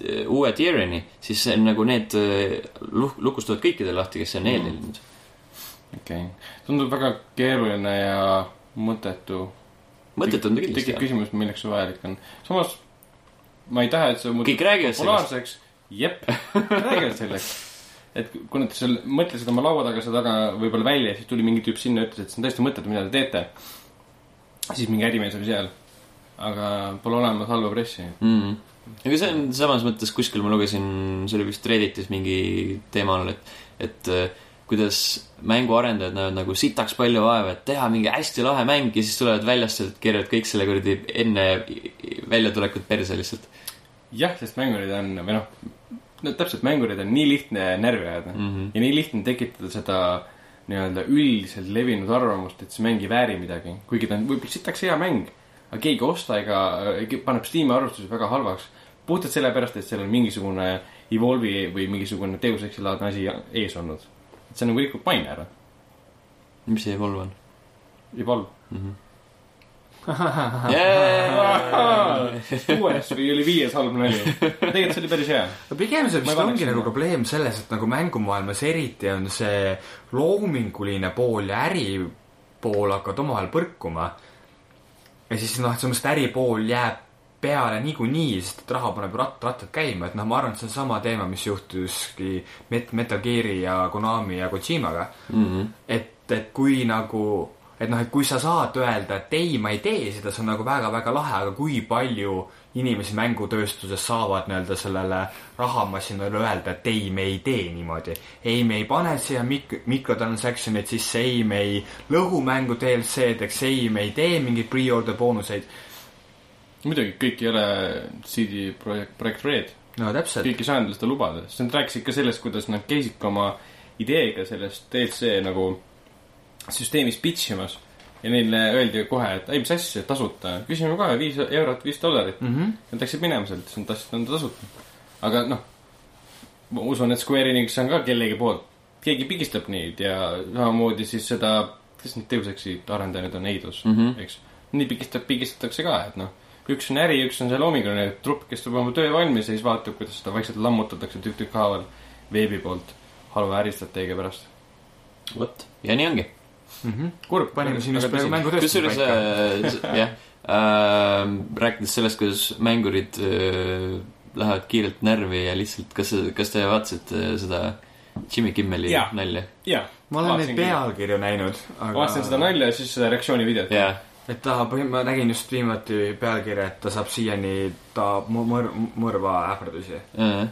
Speaker 1: äh, uue tier'ini , siis see on nagu need äh, luh- , lukustuvad kõikidel lahti , kes
Speaker 2: Mhm.
Speaker 1: on eeltellinud .
Speaker 2: okei okay. , tundub väga keeruline ja mõttetu .
Speaker 1: mõttetu on ta kindlasti
Speaker 2: tekib
Speaker 1: jah .
Speaker 2: küsimus , milleks see vajalik on . samas ma ei taha , et see muutub
Speaker 1: kõik räägivad sellest .
Speaker 2: populaarseks . jep , räägivad sellest . et kui nad seal mõtlesid oma laua taga seda taga võib-olla välja , siis tuli mingi tüüp sinna ja ütles , et see on täiesti mõttetu , mida te teete . siis mingi ärimees oli seal . aga pole olemas halba pressi .
Speaker 1: mm. . aga see on samas mõttes kuskil ma lugesin , see oli vist Redditis mingi teema all , et , et äh, kuidas mänguarendajad näevad nagu sitaks palju vaeva , et teha mingi hästi lahe mäng ja siis tulevad väljast , keeravad kõik selle kuradi enne väljatulekut perse lihtsalt
Speaker 2: jah , sest mängurid on või noh , no täpselt , mängurid on nii lihtne närvi ajada mm
Speaker 1: Mhm.
Speaker 2: ja nii lihtne tekitada seda nii-öelda üldiselt levinud arvamust , et see mäng ei vääri midagi , kuigi ta on võib-olla sitaks hea mäng , aga keegi ei osta ega äh, paneb Steam'i arvestuse väga halvaks puhtalt sellepärast , et seal on mingisugune Evolve'i või mingisugune Deus Exi laadne asi ees olnud . et see nagu rikub maine ära ,
Speaker 1: mis see Evolve on ?
Speaker 2: Evolve .
Speaker 1: Jee!
Speaker 2: kuues või oli viies halb nali , tegelikult see oli päris hea .
Speaker 3: no pigem see
Speaker 2: Ma ei
Speaker 3: vist
Speaker 2: paneks
Speaker 3: ongi
Speaker 2: sinna.
Speaker 3: nagu probleem selles , et nagu mängumaailmas eriti on see loominguline pool ja äripool hakkavad omavahel põrkuma . ja siis noh , selles mõttes äripool jääb peale niikuinii , sest et raha paneb ratt , rattad käima , et noh , ma arvan , et see on sama teema , mis juhtuski Met- , Metal Gear'i ja Konami ja Kojimaga
Speaker 1: Mhm.
Speaker 3: et , et kui nagu , et noh , et kui sa saad öelda , et ei , ma ei tee seda , see on nagu väga-väga lahe , aga kui palju inimesi mängutööstuses saavad nii-öelda sellele rahamasinale öelda , et ei , me ei tee niimoodi . ei , me ei pane siia mik- , mikrotransaction'id sisse , ei , me ei lõhu mängu DLC-deks , ei , me ei tee mingeid pre-order boonuseid .
Speaker 2: muidugi kõik ei ole CD Projekt , Projekt Red
Speaker 3: no täpselt .
Speaker 2: kõik ei saanud seda lubada , sest nad rääkisid ka sellest , kuidas nad käisid ka oma ideega sellest DLC nagu süsteemis pitch imas ja neile öeldi kohe , et ei , mis asja , tasuta , küsime kohe viis eurot , viis dollarit mm .
Speaker 3: Mhm.
Speaker 2: Nad läksid minema sealt , siis nad tahtsid anda tasuta . aga noh , ma usun , et Square Enix on ka kellegi poolt , keegi pigistab neid ja samamoodi siis seda , kes need teoseks arendajad on , Eidos mm ,
Speaker 1: Mhm.
Speaker 2: -hmm. eks . nii pigistab , pigistatakse ka , et noh , üks on äri , üks on see loominguline trupp , kes teeb oma töö valmis ja siis vaatab , kuidas seda vaikselt lammutatakse tükk-tükk haaval veebi poolt halva äristrateegia pärast .
Speaker 1: vot , ja nii ongi .
Speaker 2: kurb ,
Speaker 3: panime sinna praegu mängu tõesti
Speaker 1: kusjuures
Speaker 3: paika .
Speaker 1: äh, jah äh, , rääkides sellest , kuidas mängurid äh, lähevad kiirelt närvi ja lihtsalt , kas , kas te vaatasite äh, seda Jimmy Kimmeli
Speaker 2: Jaa.
Speaker 1: nalja ?
Speaker 2: jaa ,
Speaker 3: ma olen neid
Speaker 2: vaatasin küll.
Speaker 3: pealkirju näinud ,
Speaker 2: ma vaatasin seda
Speaker 3: aga
Speaker 2: nalja ja siis seda reaktsioonivideot .
Speaker 1: jaa ,
Speaker 3: et ta , ma nägin just viimati pealkirja , et ta saab siiani , ta mu- mõr- , mõrva ähvardusi .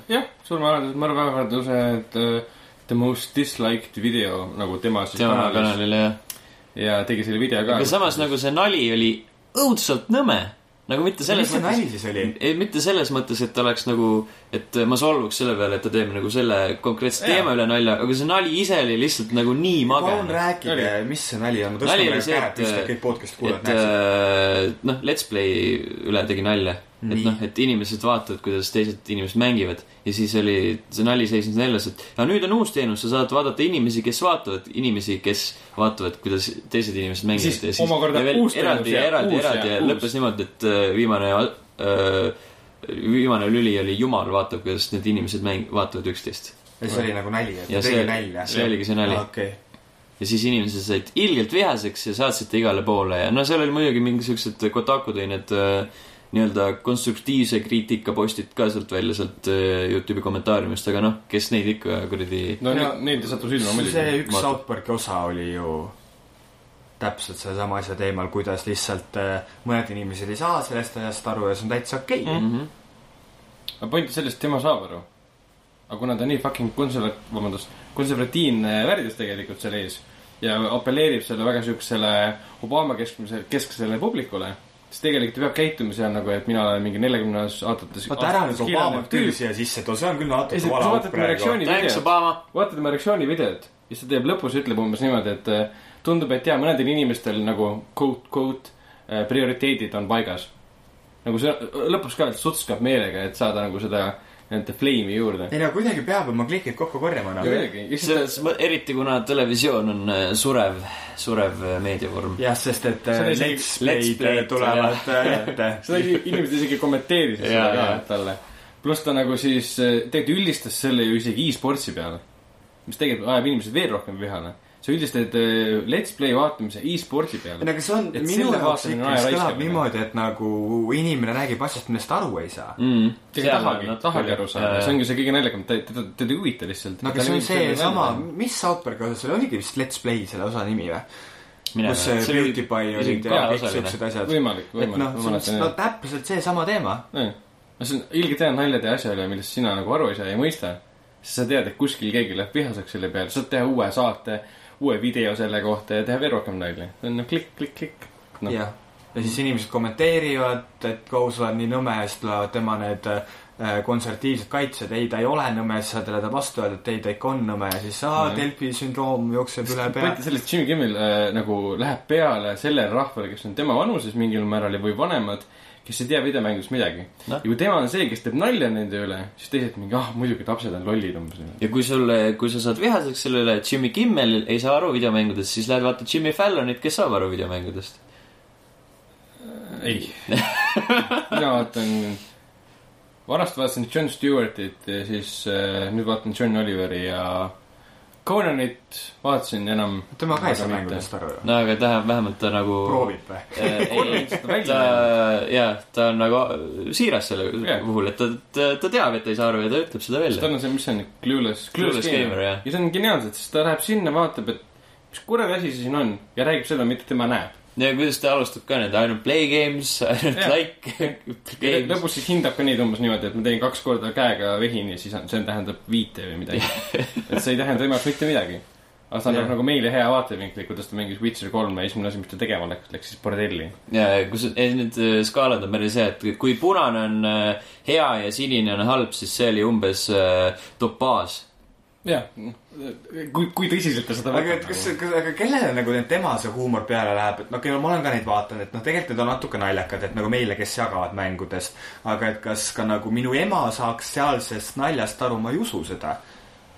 Speaker 2: jah , surmaähvardus , Marve ähvardused , äh, the most disliked video nagu tema siis
Speaker 1: tema kanalil jah .
Speaker 2: ja tegi selle video ka
Speaker 1: aga . samas nagu see nali oli õudselt nõme , nagu mitte selles
Speaker 3: mis see
Speaker 1: mõttes
Speaker 3: nali siis oli ?
Speaker 1: ei , mitte selles mõttes , et ta oleks nagu , et ma solvuks selle peale , et ta teeb nagu selle konkreetse
Speaker 2: Jaa.
Speaker 1: teema üle nalja , aga see nali ise oli lihtsalt nagu nii
Speaker 3: palun
Speaker 1: mage .
Speaker 3: rääkige , mis see nali
Speaker 2: nagu
Speaker 3: on , ma
Speaker 1: Nali oli
Speaker 3: tõstan
Speaker 1: see,
Speaker 3: praegu käed
Speaker 1: et-
Speaker 3: püsti , et kõik podcast'i kuulajad
Speaker 1: et
Speaker 3: näeksid .
Speaker 1: äh, noh , Let's Play üle tegi nalja , et
Speaker 3: Nii.
Speaker 1: noh , et inimesed vaatavad , kuidas teised inimesed mängivad ja siis oli , see nali seisnes selles , et aga nüüd on uus teenus , sa saad vaadata inimesi , kes vaatavad inimesi , kes vaatavad , kuidas teised inimesed mängivad .
Speaker 2: Siis omakorda
Speaker 1: ja veel
Speaker 2: uus teenus
Speaker 1: eraldi ja
Speaker 2: ja
Speaker 1: eraldi ,
Speaker 2: uus
Speaker 1: eraldi
Speaker 2: ja
Speaker 1: ja
Speaker 2: uus.
Speaker 1: lõppes niimoodi , et äh, viimane äh, , viimane lüli oli Jumal vaatab , kuidas need inimesed mäng- , vaatavad üksteist .
Speaker 3: ja see oli nagu nali , et
Speaker 1: ja
Speaker 3: ta
Speaker 1: see
Speaker 3: tegi , nalja .
Speaker 1: see oligi see nali .
Speaker 3: okei ,
Speaker 1: ja siis inimesed said ilgelt vihaseks ja saatsite igale poole ja no seal oli muidugi mingisugused Kotaku tõi need äh, nii-öelda konstruktiivse kriitika postid ka sealt välja sealt äh, Youtube'i kommentaariumist , aga noh , kes neid ikka kuradi
Speaker 2: no
Speaker 3: Ja-
Speaker 2: neid- neid ta sattus ilma
Speaker 3: see
Speaker 2: muidugi .
Speaker 3: üks
Speaker 1: Vaata.
Speaker 3: South Park'i osa oli ju täpselt sellesama asja teemal , kuidas lihtsalt äh, mõned inimesed ei saa sellest asjast aru ja see on täitsa okei okay.
Speaker 1: Mhm.
Speaker 3: mm. .
Speaker 2: aga point on selles , et tema saab aru . aga kuna ta nii fucking konservat- , vabandust , konservatiivne värdjus tegelikult seal ees ja apelleerib selle väga siuksele Obama keskmise , kesksele publikule , siis tegelikult ta peab käituma seal nagu , et mina olen mingi neljakümnes aastates .
Speaker 3: vaata ära nüüd Obama küll . siia sisse too , see on küll
Speaker 2: ja
Speaker 3: natuke
Speaker 2: siis sa
Speaker 3: vale auk
Speaker 2: vaatad mu
Speaker 3: praegu .
Speaker 1: Thanks
Speaker 2: reaktsioonivideot ,
Speaker 1: Obama
Speaker 2: vaatad oma reaktsioonivideot ja siis ta teeb lõpus , ütleb umbes niimoodi , et äh, tundub , et jaa , mõnedel inimestel nagu quote , quote äh, prioriteedid on paigas . nagu see äh, lõpus ka , et sutskab meelega , et saada nagu seda nende flame'i juurde .
Speaker 3: ei no kuidagi peab oma klikid kokku noh. korjama enam .
Speaker 2: muidugi ,
Speaker 1: selles mõttes , eriti kuna televisioon on äh, surev , surev äh, meediavorm .
Speaker 3: jah , sest et
Speaker 2: See
Speaker 3: äh,
Speaker 2: on isegi-
Speaker 3: let's
Speaker 1: Let's Play'd
Speaker 3: play'd tulevad äh, ette .
Speaker 1: *laughs*
Speaker 2: seda isegi- inimesed isegi kommenteerisid seda
Speaker 1: Jaa,
Speaker 2: ka
Speaker 1: jaa.
Speaker 2: talle . pluss ta nagu siis äh, tegelikult üldistas selle ju isegi e-sportsi peale , mis tegelikult ajab inimesed veel rohkem vihale . sa üldistad äh, Let's Play vaatamise e-sportsi
Speaker 3: ei no
Speaker 2: peale .
Speaker 3: aga see on
Speaker 2: Et
Speaker 3: minu
Speaker 2: selle
Speaker 3: jaoks
Speaker 2: vaatamine on
Speaker 3: ikkagi
Speaker 2: aja
Speaker 3: kõlab
Speaker 2: raiskamine.
Speaker 3: niimoodi , et nagu inimene räägib asjast , millest aru ei saa .
Speaker 2: Mm.
Speaker 1: Mm.
Speaker 2: keegi tahagi , tahagi aru
Speaker 1: Äh,
Speaker 2: saada , see ongi see kõige naljakam , ta , teda , teda ei huvita lihtsalt .
Speaker 3: no aga see on seesama , mis South Park'i osas oli , oligi vist Let's Play selle osa nimi või ? kus see Beauty Pie olid ja kõik siuksed asjad .
Speaker 2: võimalik ,
Speaker 3: et noh , see on
Speaker 2: võimalik .
Speaker 3: see- no täpselt seesama teema .
Speaker 2: nojah , no see on ilgelt hea naljade asja üle , millest sina nagu aru ei saa ja ei mõista . siis sa tead , et kuskil keegi läheb vihaseks selle peale , saad teha uue saate , uue video selle kohta ja teha veel rohkem nalja . see on nagu no klikk , klikk , klikk . noh ,
Speaker 3: jah , ja siis inimesed kommenteerivad , et Go , sa oled nii nõme ja siis tulevad tema need äh, konservatiivsed kaitsjad , ei , ta ei ole nõme , siis sa talle tahad vastu öelda , et ei , ta ikka on nõme ja siis aa ,
Speaker 2: Mhm.
Speaker 3: Delfi sündroom jookseb üle pea
Speaker 2: point on . selles , et Jimmy Kimmel äh, nagu läheb peale sellele rahvale , kes on tema vanuses mingil määral ja , või vanemad , kes ei tea videomängust midagi
Speaker 1: Noh.
Speaker 2: ja kui tema on see , kes teeb nalja nende üle , siis teised mingi , ah muidugi lapsed on lollid umbes .
Speaker 1: ja kui sul , kui sa saad vihaseks selle üle , et Jimmy Kimmel ei saa aru videomängudest , siis lähed vaatad Jimmy Fallonit , kes saab aru videomängudest .
Speaker 2: ei . *laughs* mina vaatan , vanasti vaatasin John Stewartit ja siis äh, nüüd vaatan John Oliveri ja Conanit vaatasin enam .
Speaker 3: tema ka ei saa mängudest aru ju .
Speaker 1: no aga ta vähemalt ta nagu .
Speaker 3: proovib või ?
Speaker 2: *laughs*
Speaker 1: ei , ta , jaa , ta on nagu siiras selle
Speaker 2: Jah.
Speaker 1: puhul , et ta, ta , ta teab , et ta ei saa aru ja ta ütleb seda välja .
Speaker 2: tal on see , mis see on , Clueless .
Speaker 1: Clueless Gamer, jah.
Speaker 2: ja see on geniaalselt , sest ta läheb sinna , vaatab , et mis kuradi asi see siin on ja räägib seda , mida tema näeb .
Speaker 1: ja kuidas ta alustab ka need I don't play games , *laughs* I don't *laughs*
Speaker 2: Jah.
Speaker 1: like games .
Speaker 2: lõpus siis hindab ka neid umbes niimoodi , et ma teen kaks korda käega vehin ja siis on , see tähendab viite või
Speaker 3: *laughs*
Speaker 2: midagi . et see ei tähenda tema jaoks mitte midagi . aga see annab
Speaker 3: Jah.
Speaker 2: nagu meile hea vaatevinkli , kuidas ta mängis Witcher kolme ja esimene asi , mis ta tegema läks , läks siis bordelli .
Speaker 1: ja , ja kus , need äh, skaalad on päris hea , et kui punane on äh, hea ja sinine on halb , siis see oli umbes äh, topaaž .
Speaker 2: jah , kui , kui tõsiselt ta seda
Speaker 3: aga et kas , aga kellele nagu need- tema see huumor peale läheb , et no okei okay, , ma olen ka neid vaadanud , et noh , tegelikult need on natuke naljakad , et nagu meile , kes jagavad mängudest , aga et kas ka nagu minu ema saaks sealsest naljast aru , ma ei usu seda .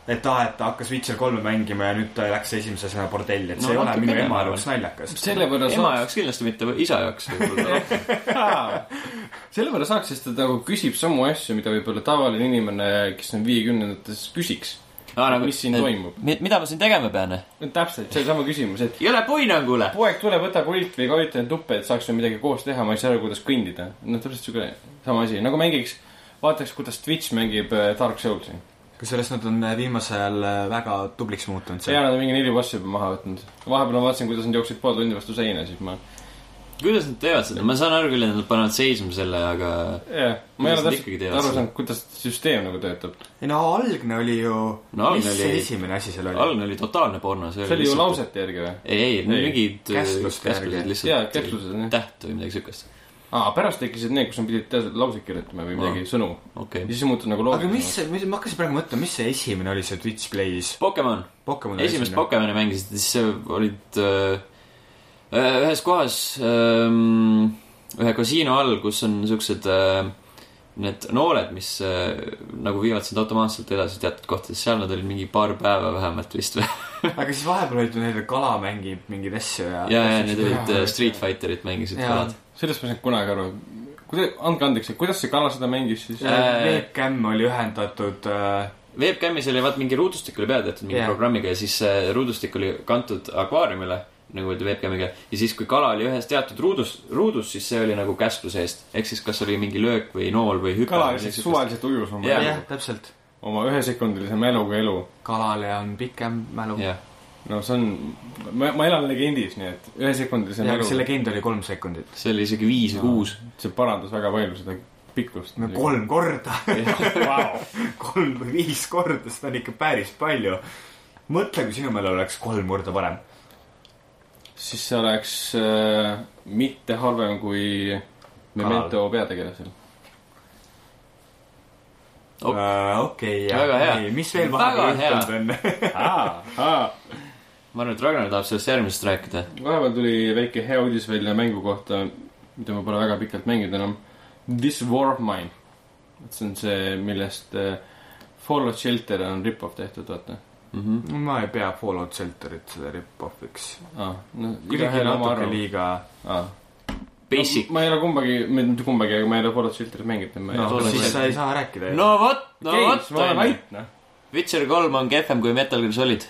Speaker 3: et aa , et ta hakkas Witcher kolme mängima ja nüüd ta läks esimese sõna bordelli , et see
Speaker 1: No
Speaker 3: no, ei ole
Speaker 1: natukene,
Speaker 3: minu
Speaker 1: ma
Speaker 3: ema
Speaker 1: arvan.
Speaker 3: jaoks naljakas .
Speaker 2: *laughs* selle võrra
Speaker 1: ema
Speaker 2: saab *laughs*
Speaker 1: jaoks kindlasti mitte , isa jaoks võib-olla .
Speaker 2: selle võrra saaks , sest ta nagu küsib samu asju , mida võib-olla tavaline inimene , kes on viiekümnendates , küsiks .
Speaker 1: aa ,
Speaker 2: mis siin toimub ?
Speaker 1: mida ma siin tegema pean ?
Speaker 2: täpselt , see on sama küsimus , et
Speaker 1: ei ole puinangule .
Speaker 2: poeg tuleb , võtab ulilt või kajuti end tuppe , et saaks ju midagi koos teha , ma ei saa aru , kuidas kõndida . noh , täpselt siuke sama asi , nagu mängiks , vaataks , kuidas Twitch mängib äh, Dark Soulsi .
Speaker 3: kusjuures nad on äh, viimasel ajal väga tubliks muutunud
Speaker 2: ja . nad on mingi neli bossi juba maha võtnud . vahepeal ma vaatasin , kuidas nad jooksid pool tundi vastu seina , siis ma ,
Speaker 1: kuidas nad teevad seda , ma saan aru küll , et nad panevad seisma selle , aga
Speaker 2: jah , ma ei
Speaker 1: Kuidas
Speaker 2: ole
Speaker 1: nad ikkagi
Speaker 2: täpselt
Speaker 1: teevad
Speaker 2: aru
Speaker 1: seda?
Speaker 2: saanud , kuidas süsteem nagu töötab .
Speaker 3: ei no algne oli ju
Speaker 1: No algne
Speaker 3: mis see
Speaker 1: oli-
Speaker 3: esimene asi seal oli ?
Speaker 1: algne oli totaalne porno .
Speaker 2: see oli ju . lausete järgi või ?
Speaker 1: ei , ei ,
Speaker 2: Ei.
Speaker 1: mingid äh,
Speaker 3: Käskluste järgi.
Speaker 1: lihtsalt .
Speaker 2: jaa , käslused on jah .
Speaker 1: täht või midagi siukest .
Speaker 2: aa , pärast tekkisid need , kus nad pidid tead- lauseid kirjutama või midagi , sõnu .
Speaker 1: okei
Speaker 2: ja
Speaker 1: okay. .
Speaker 2: siis see muutus nagu
Speaker 3: aga mis
Speaker 2: loogiliseks .
Speaker 3: see , mis , ma hakkasin praegu mõtlema , mis see esimene oli seal Twitch Play's ?
Speaker 1: Pokemon ,
Speaker 3: Pokemon oli
Speaker 1: esimest
Speaker 3: esimene.
Speaker 1: Pokemoni mängisid , siis olid äh, äh, ühes kohas äh, , ühe kasiino all , kus on siuksed äh, need nooled , mis äh, nagu viivad sind automaatselt edasi teatud kohtades , seal nad olid mingi paar päeva vähemalt vist või .
Speaker 3: aga siis vahepeal olid ju neil kala mängib mingeid asju ja .
Speaker 1: ja , ja need olid äh, Street Fighterit mängisid
Speaker 3: Jaa.
Speaker 1: kalad .
Speaker 2: sellest ma ei saanud kunagi aru . kuidas , andke andeks , kuidas see kala seda mängis siis ?
Speaker 1: Äh,
Speaker 3: Webcam oli ühendatud äh,
Speaker 1: Webcamis oli vaat mingi ruudustik oli peal tehtud mingi
Speaker 3: Jaa.
Speaker 1: yeah. programmiga ja siis see ruudustik oli kantud akvaariumile nagu öeldi webcamiga ja siis , kui kala oli ühes teatud ruudus , ruudus , siis see oli nagu käskluse eest . ehk siis kas oli mingi löök või nool või hüpe .
Speaker 2: kala lihtsalt suvaliselt ujus oma
Speaker 1: Jaa.
Speaker 3: jah
Speaker 2: elu ,
Speaker 3: täpselt .
Speaker 2: oma ühesekundilise mäluga elu .
Speaker 3: kalale on pikem mälu .
Speaker 1: jah ,
Speaker 2: no see on , ma , ma elan legendis , nii et ühesekundilise
Speaker 3: ja , aga see
Speaker 2: mäluga ,
Speaker 3: legend oli kolm sekundit .
Speaker 1: see oli isegi viis või kuus .
Speaker 2: see parandas väga palju seda pikkust .
Speaker 3: no kolm korda ,
Speaker 2: wow. .
Speaker 3: *laughs* kolm või viis korda , seda on ikka päris palju . mõtle , kui sinu mälu oleks kolm korda parem .
Speaker 2: siis see oleks äh, mitte halvem kui Memento peategelasel .
Speaker 1: Oh.
Speaker 3: Äh, okei ,
Speaker 1: Väga hea.
Speaker 3: mis veel
Speaker 1: Väga
Speaker 3: vahepeal
Speaker 1: hea.
Speaker 3: juhtunud on ? *laughs*
Speaker 2: vahepeal
Speaker 1: ma arvan , et Ragnar tahab sellest järgmisest rääkida .
Speaker 2: tuli väike hea uudis välja mängu kohta , mida ma pole väga pikalt mänginud enam . This War of Mine . et see on see , millest äh, Fallout Shelter on rip-off tehtud , vaata
Speaker 3: ma ei pea Fallout Shelterit selle rip-offiks .
Speaker 2: ah, . No,
Speaker 3: kuidagi
Speaker 2: igaühel oma
Speaker 3: natuke
Speaker 2: arvamus
Speaker 3: liiga .
Speaker 2: ah. .
Speaker 1: Basic .
Speaker 2: ma ei ole kumbagi , mitte kumbagi , aga ma ei ole Fallout Shelterit mänginud .
Speaker 3: no
Speaker 1: tore,
Speaker 3: siis
Speaker 1: mõelda.
Speaker 3: sa ei saa rääkida .
Speaker 1: no vot , no vot ,
Speaker 2: ma olen
Speaker 1: onju .
Speaker 2: vait , noh .
Speaker 1: Witcher kolm on kehvem kui Metal Gear Solid .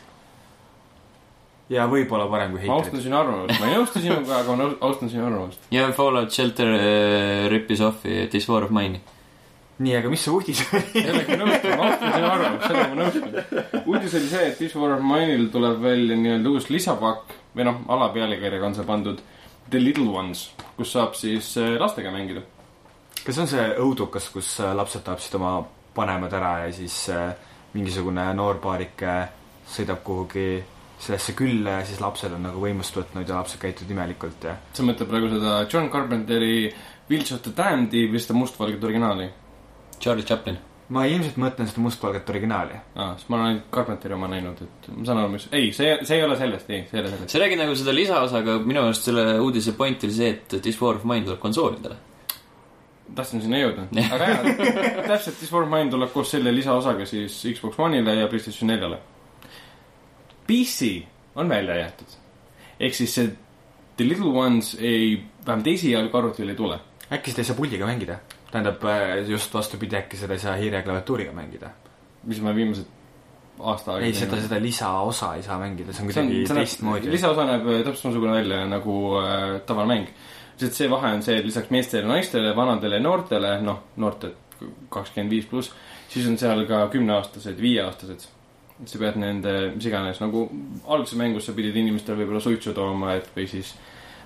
Speaker 3: ja võib-olla parem kui
Speaker 2: ma
Speaker 3: heitrid
Speaker 2: austan . sinu arvamust , ma ei nõustu sinuga , aga ma austan sinu arvamust .
Speaker 1: ja Fallout Shelter äh, rippis off'i This War of Mine'i .
Speaker 3: nii , aga mis see uudis oli ?
Speaker 2: jällegi nõustun , ma austan sinu arvamust , sellega ma nõustun . uudis oli see , et This War of Mine'il tuleb välja nii-öelda uus lisapakk või noh , alapealkirjaga on see pandud The Little Ones , kus saab siis äh, lastega mängida .
Speaker 3: *laughs* kas on see õudukas , kus äh, lapsed tapsid oma vanemad ära ja siis äh, mingisugune noorpaarike sõidab kuhugi sellesse külla ja siis lapsed on nagu võimust võtnud ja lapsed käituvad imelikult ja
Speaker 2: sa mõtled praegu seda John Carpenteri Wheels of the Damned'i või seda mustvalget originaali ?
Speaker 1: Charlie Chaplin .
Speaker 3: ma ilmselt mõtlen seda mustvalget originaali .
Speaker 2: aa , sest Ah, ma olen ainult Carpenteri oma näinud , et ma saan aru , mis , ei , see , see ei ole sellest , ei , see ei ole sellest .
Speaker 1: sa räägid nagu seda lisaosa , aga minu arust selle uudise point oli see , et This War of Mine tuleb konsoolidele .
Speaker 2: tahtsin sinna
Speaker 3: *laughs*
Speaker 2: jõuda , aga jah , täpselt This War of Mine tuleb koos selle lisaosaga siis Xbox One'ile ja PlayStation 4-le . PC on välja jäetud , ehk siis see The Little Ones ei , vähemalt esialgu arvutil ei tule .
Speaker 3: äkki seda ei saa puldiga mängida ? tähendab , just vastupidi , äkki seda ei saa hiire klaviatuuriga mängida .
Speaker 2: mis ma viimased aasta aega
Speaker 3: ei , seda , seda lisaosa ei saa mängida , see on
Speaker 2: see on
Speaker 3: kuidagi ,
Speaker 2: see
Speaker 3: teistmoodi .
Speaker 2: lisaosa näeb äh, täpselt samasugune välja nagu äh, tavaline mäng . lihtsalt see vahe on see , et lisaks meestele , naistele , vanadele , noortele , noh , noorted kakskümmend viis pluss , siis on seal ka kümneaastased , viieaastased . sa pead nende , mis iganes , nagu alguses mängus sa pidid inimestele võib-olla suitsu tooma , et või siis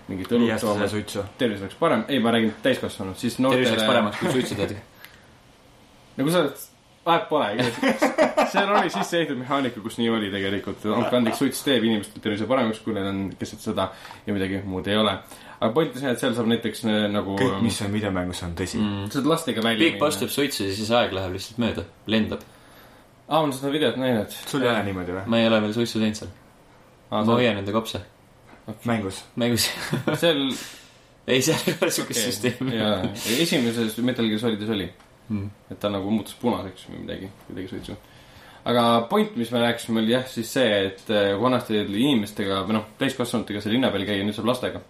Speaker 2: mingit õlut tooma
Speaker 3: viieaastasele , suitsu .
Speaker 2: et tervis oleks parem . ei , ma räägin täiskasvanud , siis
Speaker 1: tervis läks
Speaker 2: noortele .
Speaker 1: paremaks , kui suitsu
Speaker 2: *laughs*
Speaker 1: teed .
Speaker 2: nagu sa oled , vahet pole ,
Speaker 3: *laughs*
Speaker 2: seal oli sisse ehitatud mehaanika , kus nii oli tegelikult , andke andeks , suits teeb inimestel tervise paremaks , kui neil on keset sõda ja midagi muud ei ole . aga point on see , et seal saab näiteks äh, nagu ähm,
Speaker 3: kõik , mis on videomängus , on tõsi mm. .
Speaker 2: saad lastega välja
Speaker 1: Big Boss teeb suitsu ja siis aeg läheb lihtsalt mööda , lendab .
Speaker 2: aa , ma olen seda videot näinud .
Speaker 3: sul ei ole niimoodi või ?
Speaker 1: ma ei ole veel suitsu teinud seal . ma hoian enda kopsa
Speaker 3: mängus ?
Speaker 1: mängus .
Speaker 2: seal ,
Speaker 1: *laughs* ei , seal ei ole siukest süsteemi .
Speaker 2: jaa , esimeses Metal Gear Solides oli
Speaker 1: Mm.
Speaker 2: et ta nagu muutus punaseks või midagi , kuidagi suitsu . aga point , mis me rääkisime , oli jah , eh, siis see , et äh, vanasti oli inimestega või noh , täiskasvanutega sai linna peal käia , nüüd saab lastega .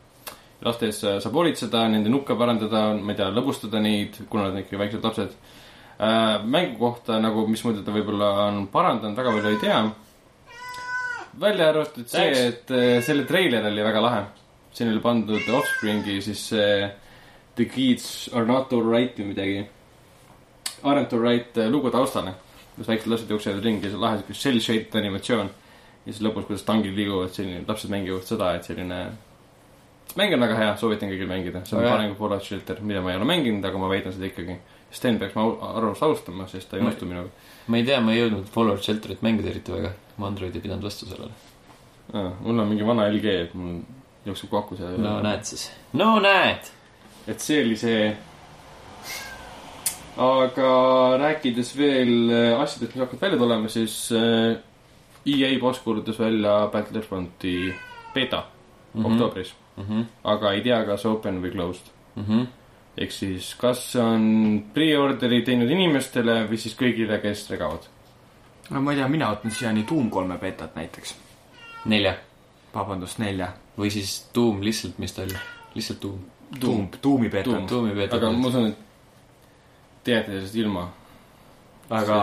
Speaker 2: laste eest sa- saab hoolitseda , nende nukke parandada , ma ei tea , lõbustada neid , kuna nad on ikkagi väiksed lapsed . Äh, mängu kohta nagu , mismoodi ta võib-olla on parandanud , väga palju ei tea . välja arvatud see ,
Speaker 1: Thanks.
Speaker 2: et äh, selle treiler oli väga lahe . siin oli pandud Offspringi siis see The kids are not alright või midagi . Aren't alright äh, lugu taustale , kus väiksed lapsed jooksevad ringi , see lahe siuke shell-shaped animatsioon . ja siis lõpus , kuidas tangid liiguvad , selline , lapsed mängivad seda , et selline . mäng on väga hea , soovitan kõigil mängida , see on
Speaker 1: Väga hea.
Speaker 2: parem kui Fallout Shelter , mida ma ei ole mänginud , aga ma väidan seda ikkagi . Sten peaks ma arvamust austama , sest ta ei
Speaker 1: Ma-
Speaker 2: nõustu minuga .
Speaker 1: ma ei tea , ma ei jõudnud Fallout Shelterit mängida eriti väga . ma Androidi ei pidanud vastu sellele .
Speaker 2: mul on mingi vana LG , et mul jookseb kokku see .
Speaker 1: no näed siis . no näed .
Speaker 2: et see oli see . aga rääkides veel äh, asjadest , mis hakkavad välja tulema , siis äh, EA boss kuulutas välja Battlefronti beeta
Speaker 1: Mhm.
Speaker 2: mm -hmm. oktoobris , aga ei tea , kas open või closed .
Speaker 1: mhm.
Speaker 2: ehk siis , kas see on pre-orderi teinud inimestele või siis kõigile , kes regavad .
Speaker 3: no ma ei tea , mina ootan siiani Doom kolme betat näiteks .
Speaker 1: nelja
Speaker 3: vabandust , nelja .
Speaker 1: või siis Doom lihtsalt , mis ta oli , lihtsalt Doom .
Speaker 3: Doom , Doomi
Speaker 2: Doom.
Speaker 3: betat .
Speaker 1: Doomi peetud
Speaker 2: aga ma . usun , et teate sellest ilma .
Speaker 3: aga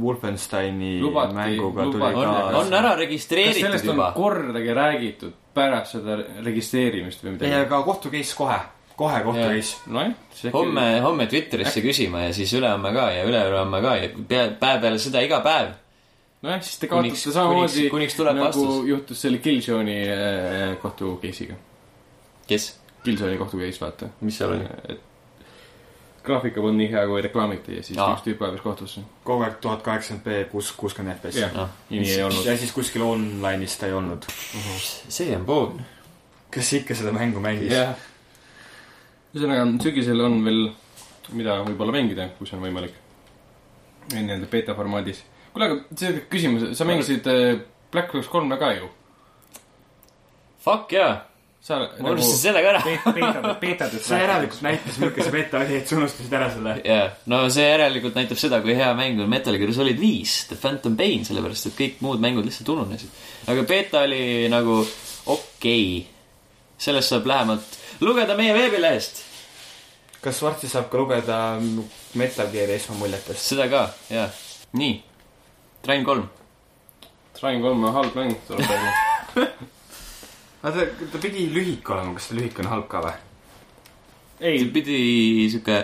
Speaker 3: Wolfensteini
Speaker 2: Lubati-
Speaker 3: mänguga tuli
Speaker 2: lubati-
Speaker 1: on ,
Speaker 3: ka .
Speaker 1: on ära
Speaker 2: kas sellest
Speaker 1: registreeritud
Speaker 2: on
Speaker 1: juba .
Speaker 2: kordagi räägitud pärast seda registreerimist või
Speaker 3: ei ,
Speaker 2: midagi ?
Speaker 3: aga kohtu case kohe , kohe kohtu
Speaker 1: Jaa.
Speaker 3: case .
Speaker 2: nojah , siis äkki
Speaker 1: homme , homme Twitterisse küsima ja siis ülehomme ka ja üleülehomme ka ja pea , päev peale seda iga päev .
Speaker 2: nojah , siis te
Speaker 1: Kuniks-
Speaker 2: kaotate samamoodi
Speaker 1: kuniks- kuniks tuleb
Speaker 2: nagu
Speaker 1: vastus.
Speaker 2: juhtus selle Killzone'i äh, kohtu case'iga .
Speaker 1: kes ?
Speaker 2: Killzone'i kohtu case , vaata .
Speaker 1: mis seal oli ?
Speaker 2: graafika polnud nii hea , kui reklaamiti ja siis
Speaker 1: Aa.
Speaker 2: Aa. üks tüüp kaevas kohtusse .
Speaker 3: kogu aeg tuhat kaheksakümmend B , kus , kuuskümmend FPS .
Speaker 2: jah ,
Speaker 1: Noh.
Speaker 2: nii ei olnud .
Speaker 3: ja siis kuskil online'is ta ei olnud .
Speaker 1: see on pool .
Speaker 3: kes ikka seda mängu mängis ?
Speaker 2: jah . ühesõnaga , sügisel on veel , mida võib-olla mängida , kui see on võimalik . nii-öelda beeta formaadis . kuule , aga see küsimus , sa mängisid äh, Black Ops kolme ka ju ?
Speaker 1: Fuck jaa ,
Speaker 2: sa
Speaker 1: ma unustasin selle ka ära .
Speaker 4: peetatud
Speaker 3: sa järelikult näitasid , milline see beta oli , et sa unustasid ära selle .
Speaker 1: jaa , no see järelikult näitab seda , kui hea mäng on Metal Gear Solid viis , The Phantom Pain , sellepärast et kõik muud mängud lihtsalt ununesid . aga beeta oli nagu okei okay. . sellest saab lähemalt lugeda meie veebilehest ,
Speaker 3: kas varsti saab ka lugeda Metal Gear'i esmamuljetest ?
Speaker 1: seda ka , jaa . nii , Train kolm .
Speaker 2: Triangle kolm on halb mäng , tuleb välja .
Speaker 3: no ta , ta pidi lühike olema , kas ta lühike on halb ka või ?
Speaker 1: see
Speaker 2: *laughs* ei ,
Speaker 1: pidi sihuke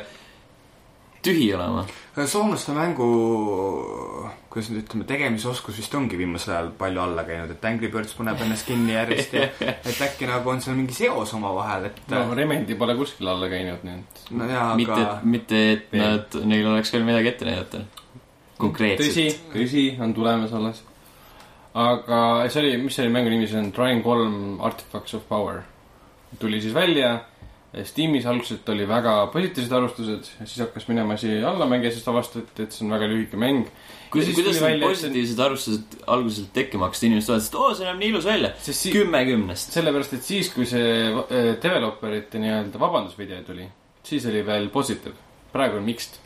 Speaker 1: tühi olema .
Speaker 3: Äh, soomlaste mängu , kuidas nüüd ütleme , tegemisoskus vist ongi viimasel ajal palju alla käinud , et Angry Birds paneb ennast kinni
Speaker 1: *laughs*
Speaker 3: järjest ja et äkki nagu on seal mingi seos omavahel , et
Speaker 2: no Remedi pole kuskil alla käinud , nii et
Speaker 3: no jaa ,
Speaker 1: mitte
Speaker 3: aga ,,
Speaker 1: mitte , et nad , neil oleks veel midagi ette näidata .
Speaker 2: tõsi
Speaker 1: konkreetselt .,
Speaker 2: tõsi , on tulemas alles . aga see oli , mis selle mängu nimi siis on , Triangle kolm Artifacts of Power . tuli siis välja , Steamis algselt oli väga positiivsed arvustused , siis hakkas minema asi allamäge , siis avastati , et see on väga lühike mäng .
Speaker 1: kuidas , kuidas need
Speaker 2: positiivsed ?
Speaker 1: positiivsed arvustused alguselt tekkima hakkasid , inimesed vaatasid , et oo , see näeb nii ilus välja .
Speaker 2: sest si- ,
Speaker 1: kümme kümnest .
Speaker 2: sellepärast , et siis , kui see va- äh, developerite nii-öelda vabandusvideo tuli , siis oli veel positive , praegu on mixed .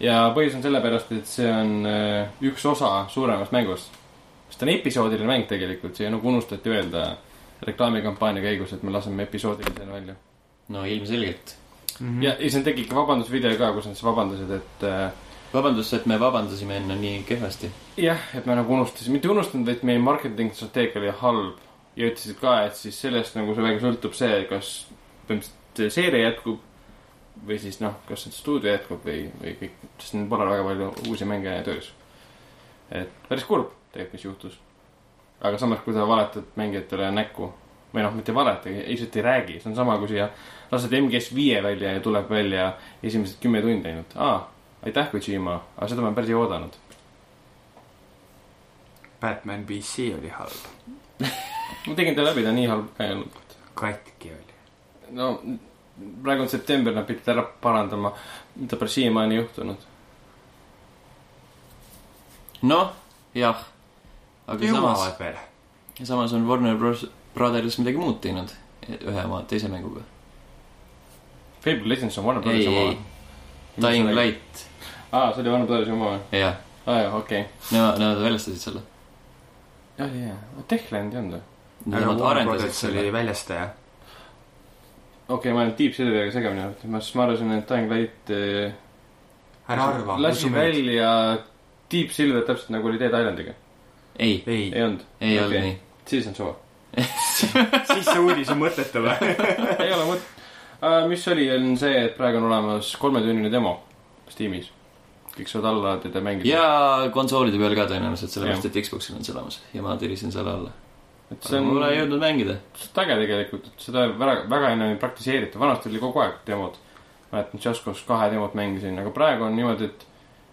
Speaker 2: ja põhjus on sellepärast , et see on äh, üks osa suuremast mängust . sest ta on episoodiline mäng tegelikult , see nagu unustati öelda reklaamikampaania käigus , et me laseme episoodilisena välja mm .
Speaker 1: no ilmselgelt .
Speaker 3: Mhm.
Speaker 2: -hmm. ja , ja siis nad tegidki vabandusvideo ka , kus nad siis vabandasid , et äh,
Speaker 1: vabandust , et me vabandasime enne nii kehvasti .
Speaker 2: jah , et me nagu unustasime , mitte unustanud , vaid meie marketing strateegia oli halb ja ütlesid ka , et siis sellest nagu see väga sõltub see , kas põhimõtteliselt see seeria jätkub või siis noh , kas see stuudio jätkub või , või kõik , sest neil pole väga palju uusi mänge töös . et päris kurb tegelikult , mis juhtus . aga samas , kui sa valetad mängijatele näkku või noh , mitte ei valeta , lihtsalt ei räägi , see on sama kui siia lased MGS viie välja ja tuleb välja esimesed kümme tundi ainult . aa , aitäh , Kojima , aga seda ma päris ei oodanud .
Speaker 3: Batman BC oli halb ,
Speaker 2: ma tegin ta läbi , ta nii halb ka ei olnud .
Speaker 3: katki oli .
Speaker 2: no praegu on september , nad pidid ära parandama , mida pole siiamaani juhtunud .
Speaker 1: noh , jah . aga samas ,
Speaker 3: jõuavad veel .
Speaker 1: samas on Warner Bros. Brothers midagi muud teinud ühe oma teise mänguga .
Speaker 2: Fable Legends on Warner
Speaker 1: ei ,
Speaker 2: Brothersi
Speaker 1: ei
Speaker 2: oma .,
Speaker 1: Dying Light ,
Speaker 2: aa , see oli Warner Brothersi oma või ?
Speaker 1: jah .
Speaker 2: aa jah , okei okay. .
Speaker 1: Nemad , nemad väljastasid selle .
Speaker 2: jah , jah , Techland ei olnud või ?
Speaker 3: aga
Speaker 1: Nemad
Speaker 3: Warner
Speaker 1: arendasid
Speaker 3: Brothers
Speaker 1: selle
Speaker 3: oli . väljastaja .
Speaker 2: okei , ma olen Deep Silveriga segamini olnud , ma siis ma arvasin , et Dying Light eh,
Speaker 3: ära arva .
Speaker 2: lasi . välja Deep Silver täpselt nagu oli Dead Islandiga .
Speaker 1: ei ,
Speaker 3: ei ,
Speaker 2: ei olnud ,
Speaker 1: ei okay. olnud
Speaker 2: Okei.
Speaker 1: nii .
Speaker 2: siis on suva .
Speaker 3: siis see uudis on mõttetu
Speaker 2: *laughs*
Speaker 3: või ?
Speaker 2: ei ole mõtet . mis oli , on see , et praegu on olemas kolmetunnine demo Steamis . kõik saavad alla teda mängida .
Speaker 1: ja konsoolide peal ka tõenäoliselt , sellepärast et Xboxil on see olemas ja ma tirisin selle alla .
Speaker 2: et see
Speaker 1: aga
Speaker 2: on
Speaker 1: mul ei jõudnud mängida .
Speaker 2: suht äge tegelikult , et seda väga , väga enam ei praktiseerita , vanasti oli kogu aeg demod . mäletan , Jaskos kahe demot mängisin , aga praegu on niimoodi , et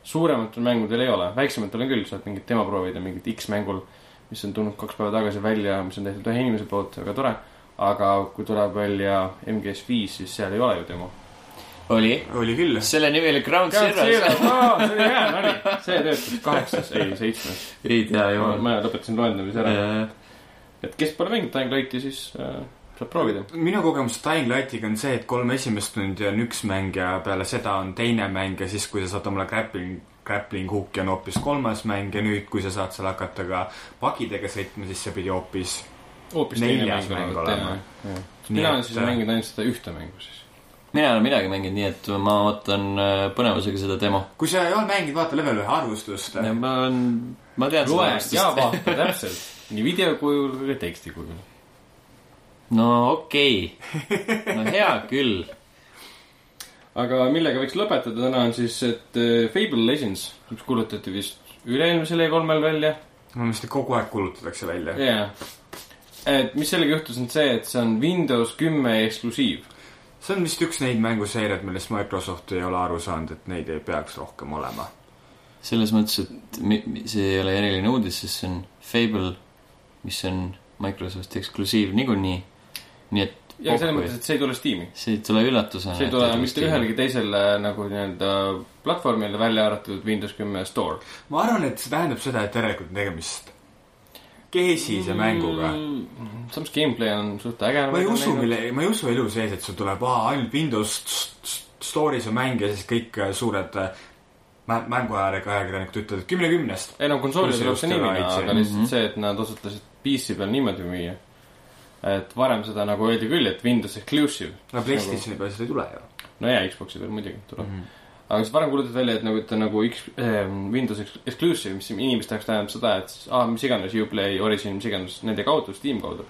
Speaker 2: suurematel mängudel ei ole , väiksematel on küll , saad mingit demo proovida mingit X-mängul , mis on tulnud kaks päeva tagasi välja , mis on tehtud ühe inimese poolt , väga tore . aga kui tuleb välja MGS5 , siis seal ei ole ju demo .
Speaker 1: oli ,
Speaker 3: oli küll .
Speaker 1: selle nimi oli Ground Zeroes .
Speaker 2: see töötas kaheksas , ei seitsmes .
Speaker 1: ei Äh, tea , jumal .
Speaker 2: ma lõpetasin loendamise ära , et kes pole mänginud Dying Lighti , siis äh, saab proovida .
Speaker 3: minu kogemus Dying Lightiga on see , et kolm esimest tundi on üks mäng ja peale seda on teine mäng ja siis , kui sa saad omale grappling , grappling hook'i on hoopis kolmas mäng ja nüüd , kui sa saad seal hakata ka pagidega sõitma , siis see pidi hoopis .
Speaker 2: hoopis teine
Speaker 3: Neljas
Speaker 2: mäng olevat
Speaker 3: mäng olema.
Speaker 2: teine . mina olen
Speaker 3: äh,
Speaker 2: siis mänginud ainult seda ühte mängu siis .
Speaker 1: mina ei ole midagi mänginud , nii et ma ootan äh, põnevusega seda demo .
Speaker 3: kui sa ei ole mänginud , vaata level ühe arvustust .
Speaker 1: ma olen , ma tean
Speaker 2: Äh. loe ja
Speaker 1: seda .
Speaker 2: vaata täpselt , nii video kujul kui ka teksti kujul .
Speaker 1: *laughs* no okei okay. , no hea küll .
Speaker 2: aga millega võiks lõpetada täna on siis , et äh, Fable Legends , mis kuulutati vist üle-eelmisel E3-l välja .
Speaker 3: ma mõtlesin , et kogu aeg kuulutatakse välja .
Speaker 2: jaa . et mis sellega juhtus , on see , et see on Windows kümme eksklusiiv .
Speaker 3: see on vist üks neid mänguseeriaid , millest Microsoft ei ole aru saanud , et neid ei peaks rohkem olema .
Speaker 1: selles mõttes , et mi- mi- see ei ole eriline uudis , sest see on Fable , mis on Microsofti eksklusiiv niikuinii . nii et
Speaker 2: ja selles mõttes ,
Speaker 1: kokku-
Speaker 2: et see ei tule Steam'i .
Speaker 1: see ei tule üllatusena .
Speaker 2: see ei tule mitte ühelegi teisele nagu nii-öelda platvormile , välja arvatud Windows kümme Store .
Speaker 3: ma arvan , et see tähendab seda , et järelikult on tegemist kesise mänguga .
Speaker 2: samas Mm, gameplay on suht äge .
Speaker 3: ma ei usu , mille , ma ei usu elu sees , et sul tuleb aa, ainult Windows st- st- Store'is on mäng ja siis kõik äh, suured äh, mä- mänguajalike ajakirjanikud ütlevad et kümne kümnest .
Speaker 2: ei no konsoolil
Speaker 3: Kus
Speaker 2: tuleb see
Speaker 3: just
Speaker 2: nimi ,
Speaker 3: ära
Speaker 2: aga
Speaker 3: IC.
Speaker 2: lihtsalt see , et nad otsustasid PC peal niimoodi müüa . et varem seda nagu öeldi küll , et Windows exclusive .
Speaker 3: no PlayStationi peal seda ei tule ju .
Speaker 2: no jaa , Xbox'i peal muidugi
Speaker 3: Mhm.
Speaker 2: tuleb mm . -hmm. aga siis varem kuulutati välja , et nagu , et ta nagu X- eh, Windows ex- exclusive , mis inimeste jaoks tähendab seda , et siis ah, mis iganes , Uplay , Origin , mis iganes nende kaudu , Steam kaudu .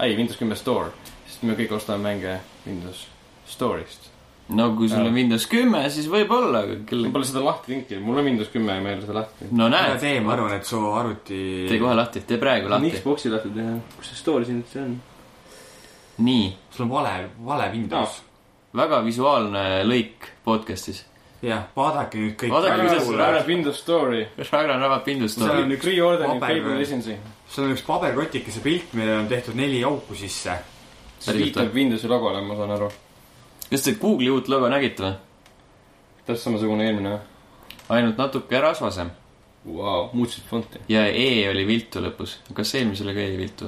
Speaker 2: ei , Windows kümme Store , sest me kõik ostame mänge Windows Store'ist .
Speaker 1: no kui sul
Speaker 2: Jaa.
Speaker 1: on Windows kümme , siis võib-olla , aga
Speaker 2: mul
Speaker 1: küll .
Speaker 2: pole seda lahti linki , mul on Windows kümme ja ma ei ole seda lahti .
Speaker 1: no
Speaker 3: ära
Speaker 1: näed ,
Speaker 3: tee , ma arvan , et su arvuti .
Speaker 1: tee kohe lahti , tee praegu lahti .
Speaker 2: Xbox'i lahti teha , kus see Store siin üldse on ?
Speaker 1: nii ,
Speaker 3: sul on vale , vale Windows .
Speaker 1: väga visuaalne lõik podcast'is . *laughs*
Speaker 3: jah , vaadake nüüd kõik .
Speaker 1: Vaadake,
Speaker 2: ära ,
Speaker 1: kuidas-
Speaker 2: ära Windows Store'i .
Speaker 1: Ragnar avab Windows
Speaker 3: Seal
Speaker 1: Store'i .
Speaker 3: on üks
Speaker 2: Pre-ordering
Speaker 3: paber-
Speaker 2: Fable Legendsi .
Speaker 3: seal on üks paberkotikese pilt , millel on tehtud neli auku sisse .
Speaker 2: see
Speaker 1: Päriselt
Speaker 2: viitab Windowsi logole , ma saan aru .
Speaker 1: kas te Google'i uut logo nägite või ?
Speaker 2: täpselt samasugune eelmine .
Speaker 1: ainult natuke rasvasem
Speaker 2: Vau , muutsid fonti .
Speaker 1: ja E oli viltu lõpus . kas eelmisele ka jäi viltu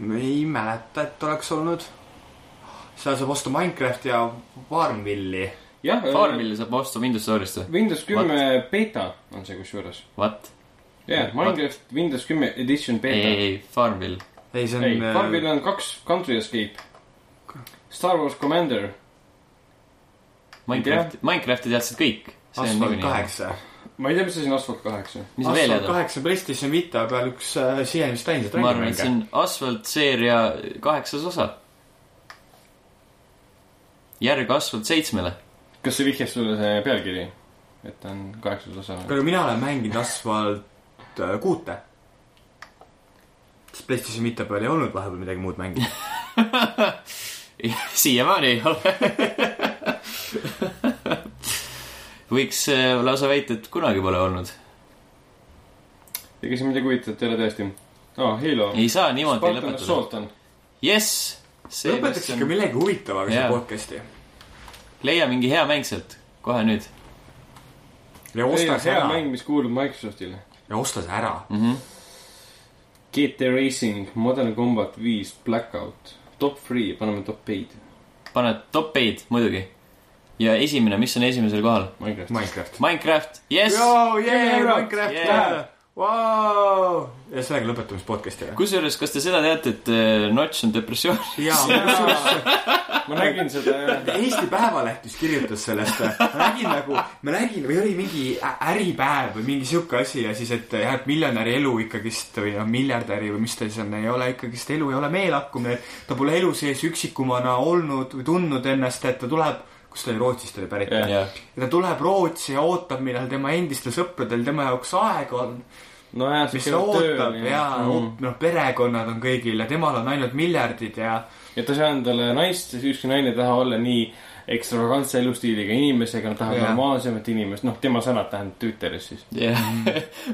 Speaker 1: või ?
Speaker 3: ei mäleta , et oleks olnud . seal saab osta Minecraft ja Farmvilli .
Speaker 2: jah ,
Speaker 3: Äh.
Speaker 1: Farmville saab osta Windows Store'ist või ?
Speaker 2: Windows kümme beeta on see kusjuures .
Speaker 1: What ?
Speaker 2: jah , Minecraft Windows kümme edition
Speaker 1: ei , ei ,
Speaker 2: beeta .
Speaker 1: ei , Farmville .
Speaker 3: ei , see on . äh,
Speaker 2: ei , Farmil on kaks Country Escape . Star Wars Commander ,
Speaker 1: Minecrafti , Minecrafti teadsid kõik .
Speaker 3: Asphalt . kaheksa .
Speaker 2: ma ei tea , mis asi on Asphalt kaheksa .
Speaker 1: mis sa veel
Speaker 3: Asphalt
Speaker 1: tead ?
Speaker 3: kaheksa PlayStation Vita peal üks äh, siiani vist täiesti
Speaker 1: ma arvan , et see on Asphalt seeria kaheksas osa . järg Asphalt seitsmele . *laughs*
Speaker 2: kas see vihjas sulle see pealkiri ? et ta on kaheksas osa või ?
Speaker 3: aga mina olen mänginud Asphalt äh, kuute . sest PlayStation Vita peal ei olnud vahepeal midagi muud
Speaker 1: *laughs*
Speaker 3: mängida .
Speaker 1: siiamaani ei ole . võiks äh, lausa väita , et kunagi pole olnud .
Speaker 2: ega siin midagi huvitavat ei ole tõesti . aa , Halo .
Speaker 1: ei saa niimoodi
Speaker 2: Spartan
Speaker 1: lõpetada .
Speaker 2: Assault on .
Speaker 1: jess .
Speaker 3: lõpetaks ikka millegi huvitavaga
Speaker 1: Jaa.
Speaker 3: seda podcast'i .
Speaker 1: leia mingi hea mäng sealt , kohe nüüd
Speaker 3: ja osta see
Speaker 2: hea
Speaker 3: ära .
Speaker 2: mäng , mis kuulub Microsoftile .
Speaker 3: ja osta see ära .
Speaker 1: mm . -hmm.
Speaker 2: GT Racing , Modern Combat viis , Blackout , top three , paneme top eight ,
Speaker 1: paned top eid muidugi . ja esimene , mis on esimesel kohal ?
Speaker 2: Minecraft .
Speaker 3: Minecraft .
Speaker 1: Minecraft , jess .
Speaker 3: Joo , jee ,
Speaker 2: Minecraft,
Speaker 3: Minecraft
Speaker 1: jee.
Speaker 3: yeah. . Vau! ja sellega lõpetame siis podcast'i või ?
Speaker 1: kusjuures , kas te seda teate , et eh, Notch on depressioon ? *laughs*
Speaker 3: jaa ,
Speaker 2: ma
Speaker 3: *laughs*
Speaker 2: nägin seda jah .
Speaker 3: Eesti Päevaleht just kirjutas sellest , ma nägin nagu , ma nägin või oli mingi ä- Äripäev või mingi sihuke asi ja siis , et jah , et miljonäri elu ikkagist või noh , miljardäri või mis ta siis on , ei ole ikkagist elu , ei ole meelakkumine , et ta pole elu sees üksikumana olnud või tundnud ennast , et ta tuleb , kus ta oli , Rootsist oli pärit
Speaker 2: Jah.
Speaker 1: jah ,
Speaker 3: ja ta tuleb Rootsi ja ootab , millal tema endistel sõpradel tema jaoks aega on ,
Speaker 2: nojah ,
Speaker 3: mis
Speaker 2: siis
Speaker 3: ta
Speaker 2: käivad
Speaker 3: ootab
Speaker 2: tööl Mm.
Speaker 3: ja noh , perekonnad on kõigil ja temal on ainult miljardid ja
Speaker 2: et ta ei saa endale naist , siis ükski naine ei taha olla nii ekstravagantse elustiiliga inimesega , nad tahavad
Speaker 3: Jah.
Speaker 2: normaalsemat inimest , noh , tema sõnad tähendab Twitteris siis .
Speaker 1: jah .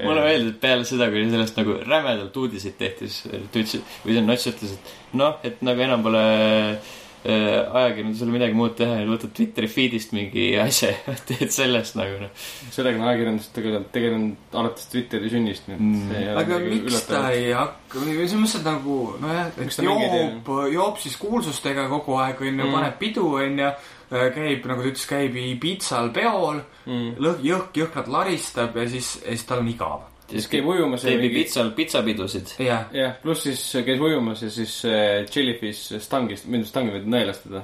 Speaker 1: mulle meeldib , et peale seda , kui sellest nagu rämedalt uudiseid tehti , siis ta ütles , või see Notch ütles , et noh , et nagu enam pole eh, ajakirjandusel midagi muud teha , võtad Twitteri feed'ist mingi asja ja *laughs* teed sellest nagu noh .
Speaker 2: sellega on ajakirjandus tegelikult tegelenud alates Twitteri sünnist , nii
Speaker 1: Mm.
Speaker 2: et see ei ole
Speaker 3: aga miks ta
Speaker 2: üllatav .
Speaker 3: ei hakka , selles mõttes , et nagu nojah ,
Speaker 2: Miks
Speaker 3: et
Speaker 2: ta mingeid ei-
Speaker 3: joob , joob siis kuulsustega kogu aeg onju ,
Speaker 2: Mm.
Speaker 3: paneb pidu onju , käib nagu ta ütles , käib Ibitsal peol ,
Speaker 2: Mm.
Speaker 3: lõhk , jõhk , jõhkralt laristab ja siis , ja siis tal on igav .
Speaker 2: siis käib ujumas ja
Speaker 1: teeb ju
Speaker 2: mingi...
Speaker 1: pitsal pitsapidusid .
Speaker 3: jah ,
Speaker 2: jah , pluss siis käis ujumas ja siis äh, Jellyfish stangist , mind stangi võid nõelast teda .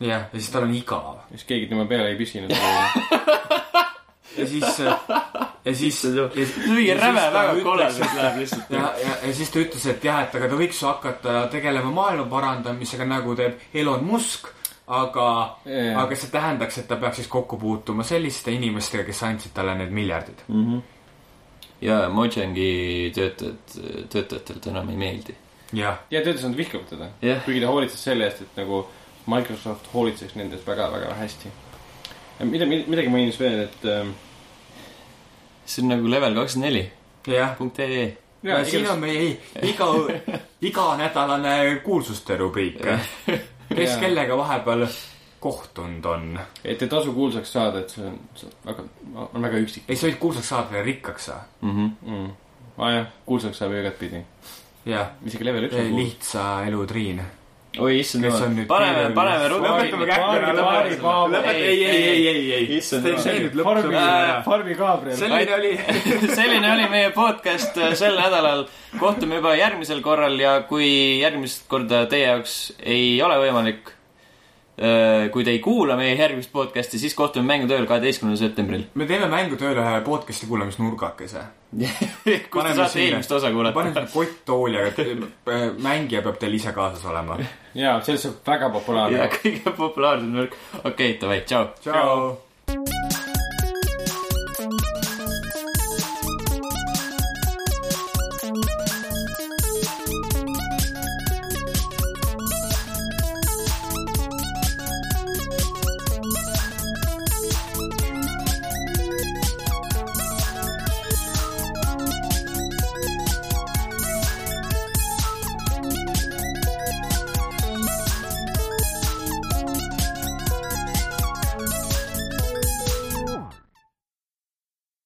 Speaker 3: jah , ja siis tal on igav .
Speaker 2: ja siis keegi tema peale ei pisinud . *laughs*
Speaker 3: ja siis , ja siis , ja
Speaker 1: mingi
Speaker 3: siis
Speaker 1: räme
Speaker 3: ta
Speaker 1: väga
Speaker 3: ütleks,
Speaker 1: koledalt läheb lihtsalt .
Speaker 3: ja , ja , ja siis ta ütles , et jah , et aga ta võiks ju hakata tegelema maailma parandamisega , nagu teeb Elon Musk , aga
Speaker 2: Jaa.
Speaker 3: yeah. , aga see tähendaks , et ta peaks siis kokku puutuma selliste inimestega , kes andsid talle need miljardid .
Speaker 1: *laughs* ja Mojangi töötajad , töötajatelt enam ei meeldi .
Speaker 3: jah ,
Speaker 2: ja ta ütles , et nad vihkavad teda
Speaker 1: Jah.
Speaker 2: kuigi ta hoolitses selle eest , et nagu Microsoft hoolitseks nendest väga-väga hästi . mida , midagi mainis veel , et ähm,
Speaker 1: see on nagu level kakskümmend neli
Speaker 3: jah .
Speaker 1: punkt ee .
Speaker 3: ja siin on meie iga , iganädalane kuulsuste rubriik . kes
Speaker 2: Jaa.
Speaker 3: kellega vahepeal kohtunud on ?
Speaker 2: et ei tasu kuulsaks saada , et see on , see on väga , on väga üksik
Speaker 3: ei , sa võid kuulsaks saada ja rikkaks saada .
Speaker 2: mm. . aa ah, jah , kuulsaks saab ju igatpidi .
Speaker 3: jah ,
Speaker 2: isegi level üks on kuuls .
Speaker 3: lihtsa elu Triin .
Speaker 1: oi , issand
Speaker 3: Kes on
Speaker 1: jumal
Speaker 3: nüüd .
Speaker 1: paneme ,
Speaker 3: keeruline-
Speaker 1: paneme
Speaker 3: Lõpetame
Speaker 1: ruttu .
Speaker 3: kätte ära,
Speaker 2: Farbi
Speaker 3: lõpetame.
Speaker 2: Gabriel ,
Speaker 1: Lõpeta-
Speaker 3: ei , ei , ei , ei , ei .
Speaker 1: Issand jumal.
Speaker 3: see nüüd lõpp
Speaker 2: Farbi
Speaker 3: tuleb ära .,
Speaker 2: Farbi Gabriel .
Speaker 3: selline oli
Speaker 1: *laughs* selline oli meie podcast äh, sel nädalal . kohtume juba järgmisel korral ja kui järgmist korda teie jaoks ei ole võimalik , kui te ei kuula meie järgmist podcasti , siis kohtume mängutööl kaheteistkümnendal septembril . *laughs*
Speaker 3: me teeme mängutööle ühe podcast'i kuulamisnurgakese .
Speaker 1: kus te saate eelmist osa
Speaker 3: pane
Speaker 1: kuulata
Speaker 3: sinna . kotttooli , aga te- äh, mängija peab teil ise kaasas olema .
Speaker 1: *laughs*
Speaker 2: jaa , selles on väga populaarne
Speaker 1: ja . kõige populaarsem värk . okei okay, , davai , tšau .
Speaker 3: tšau .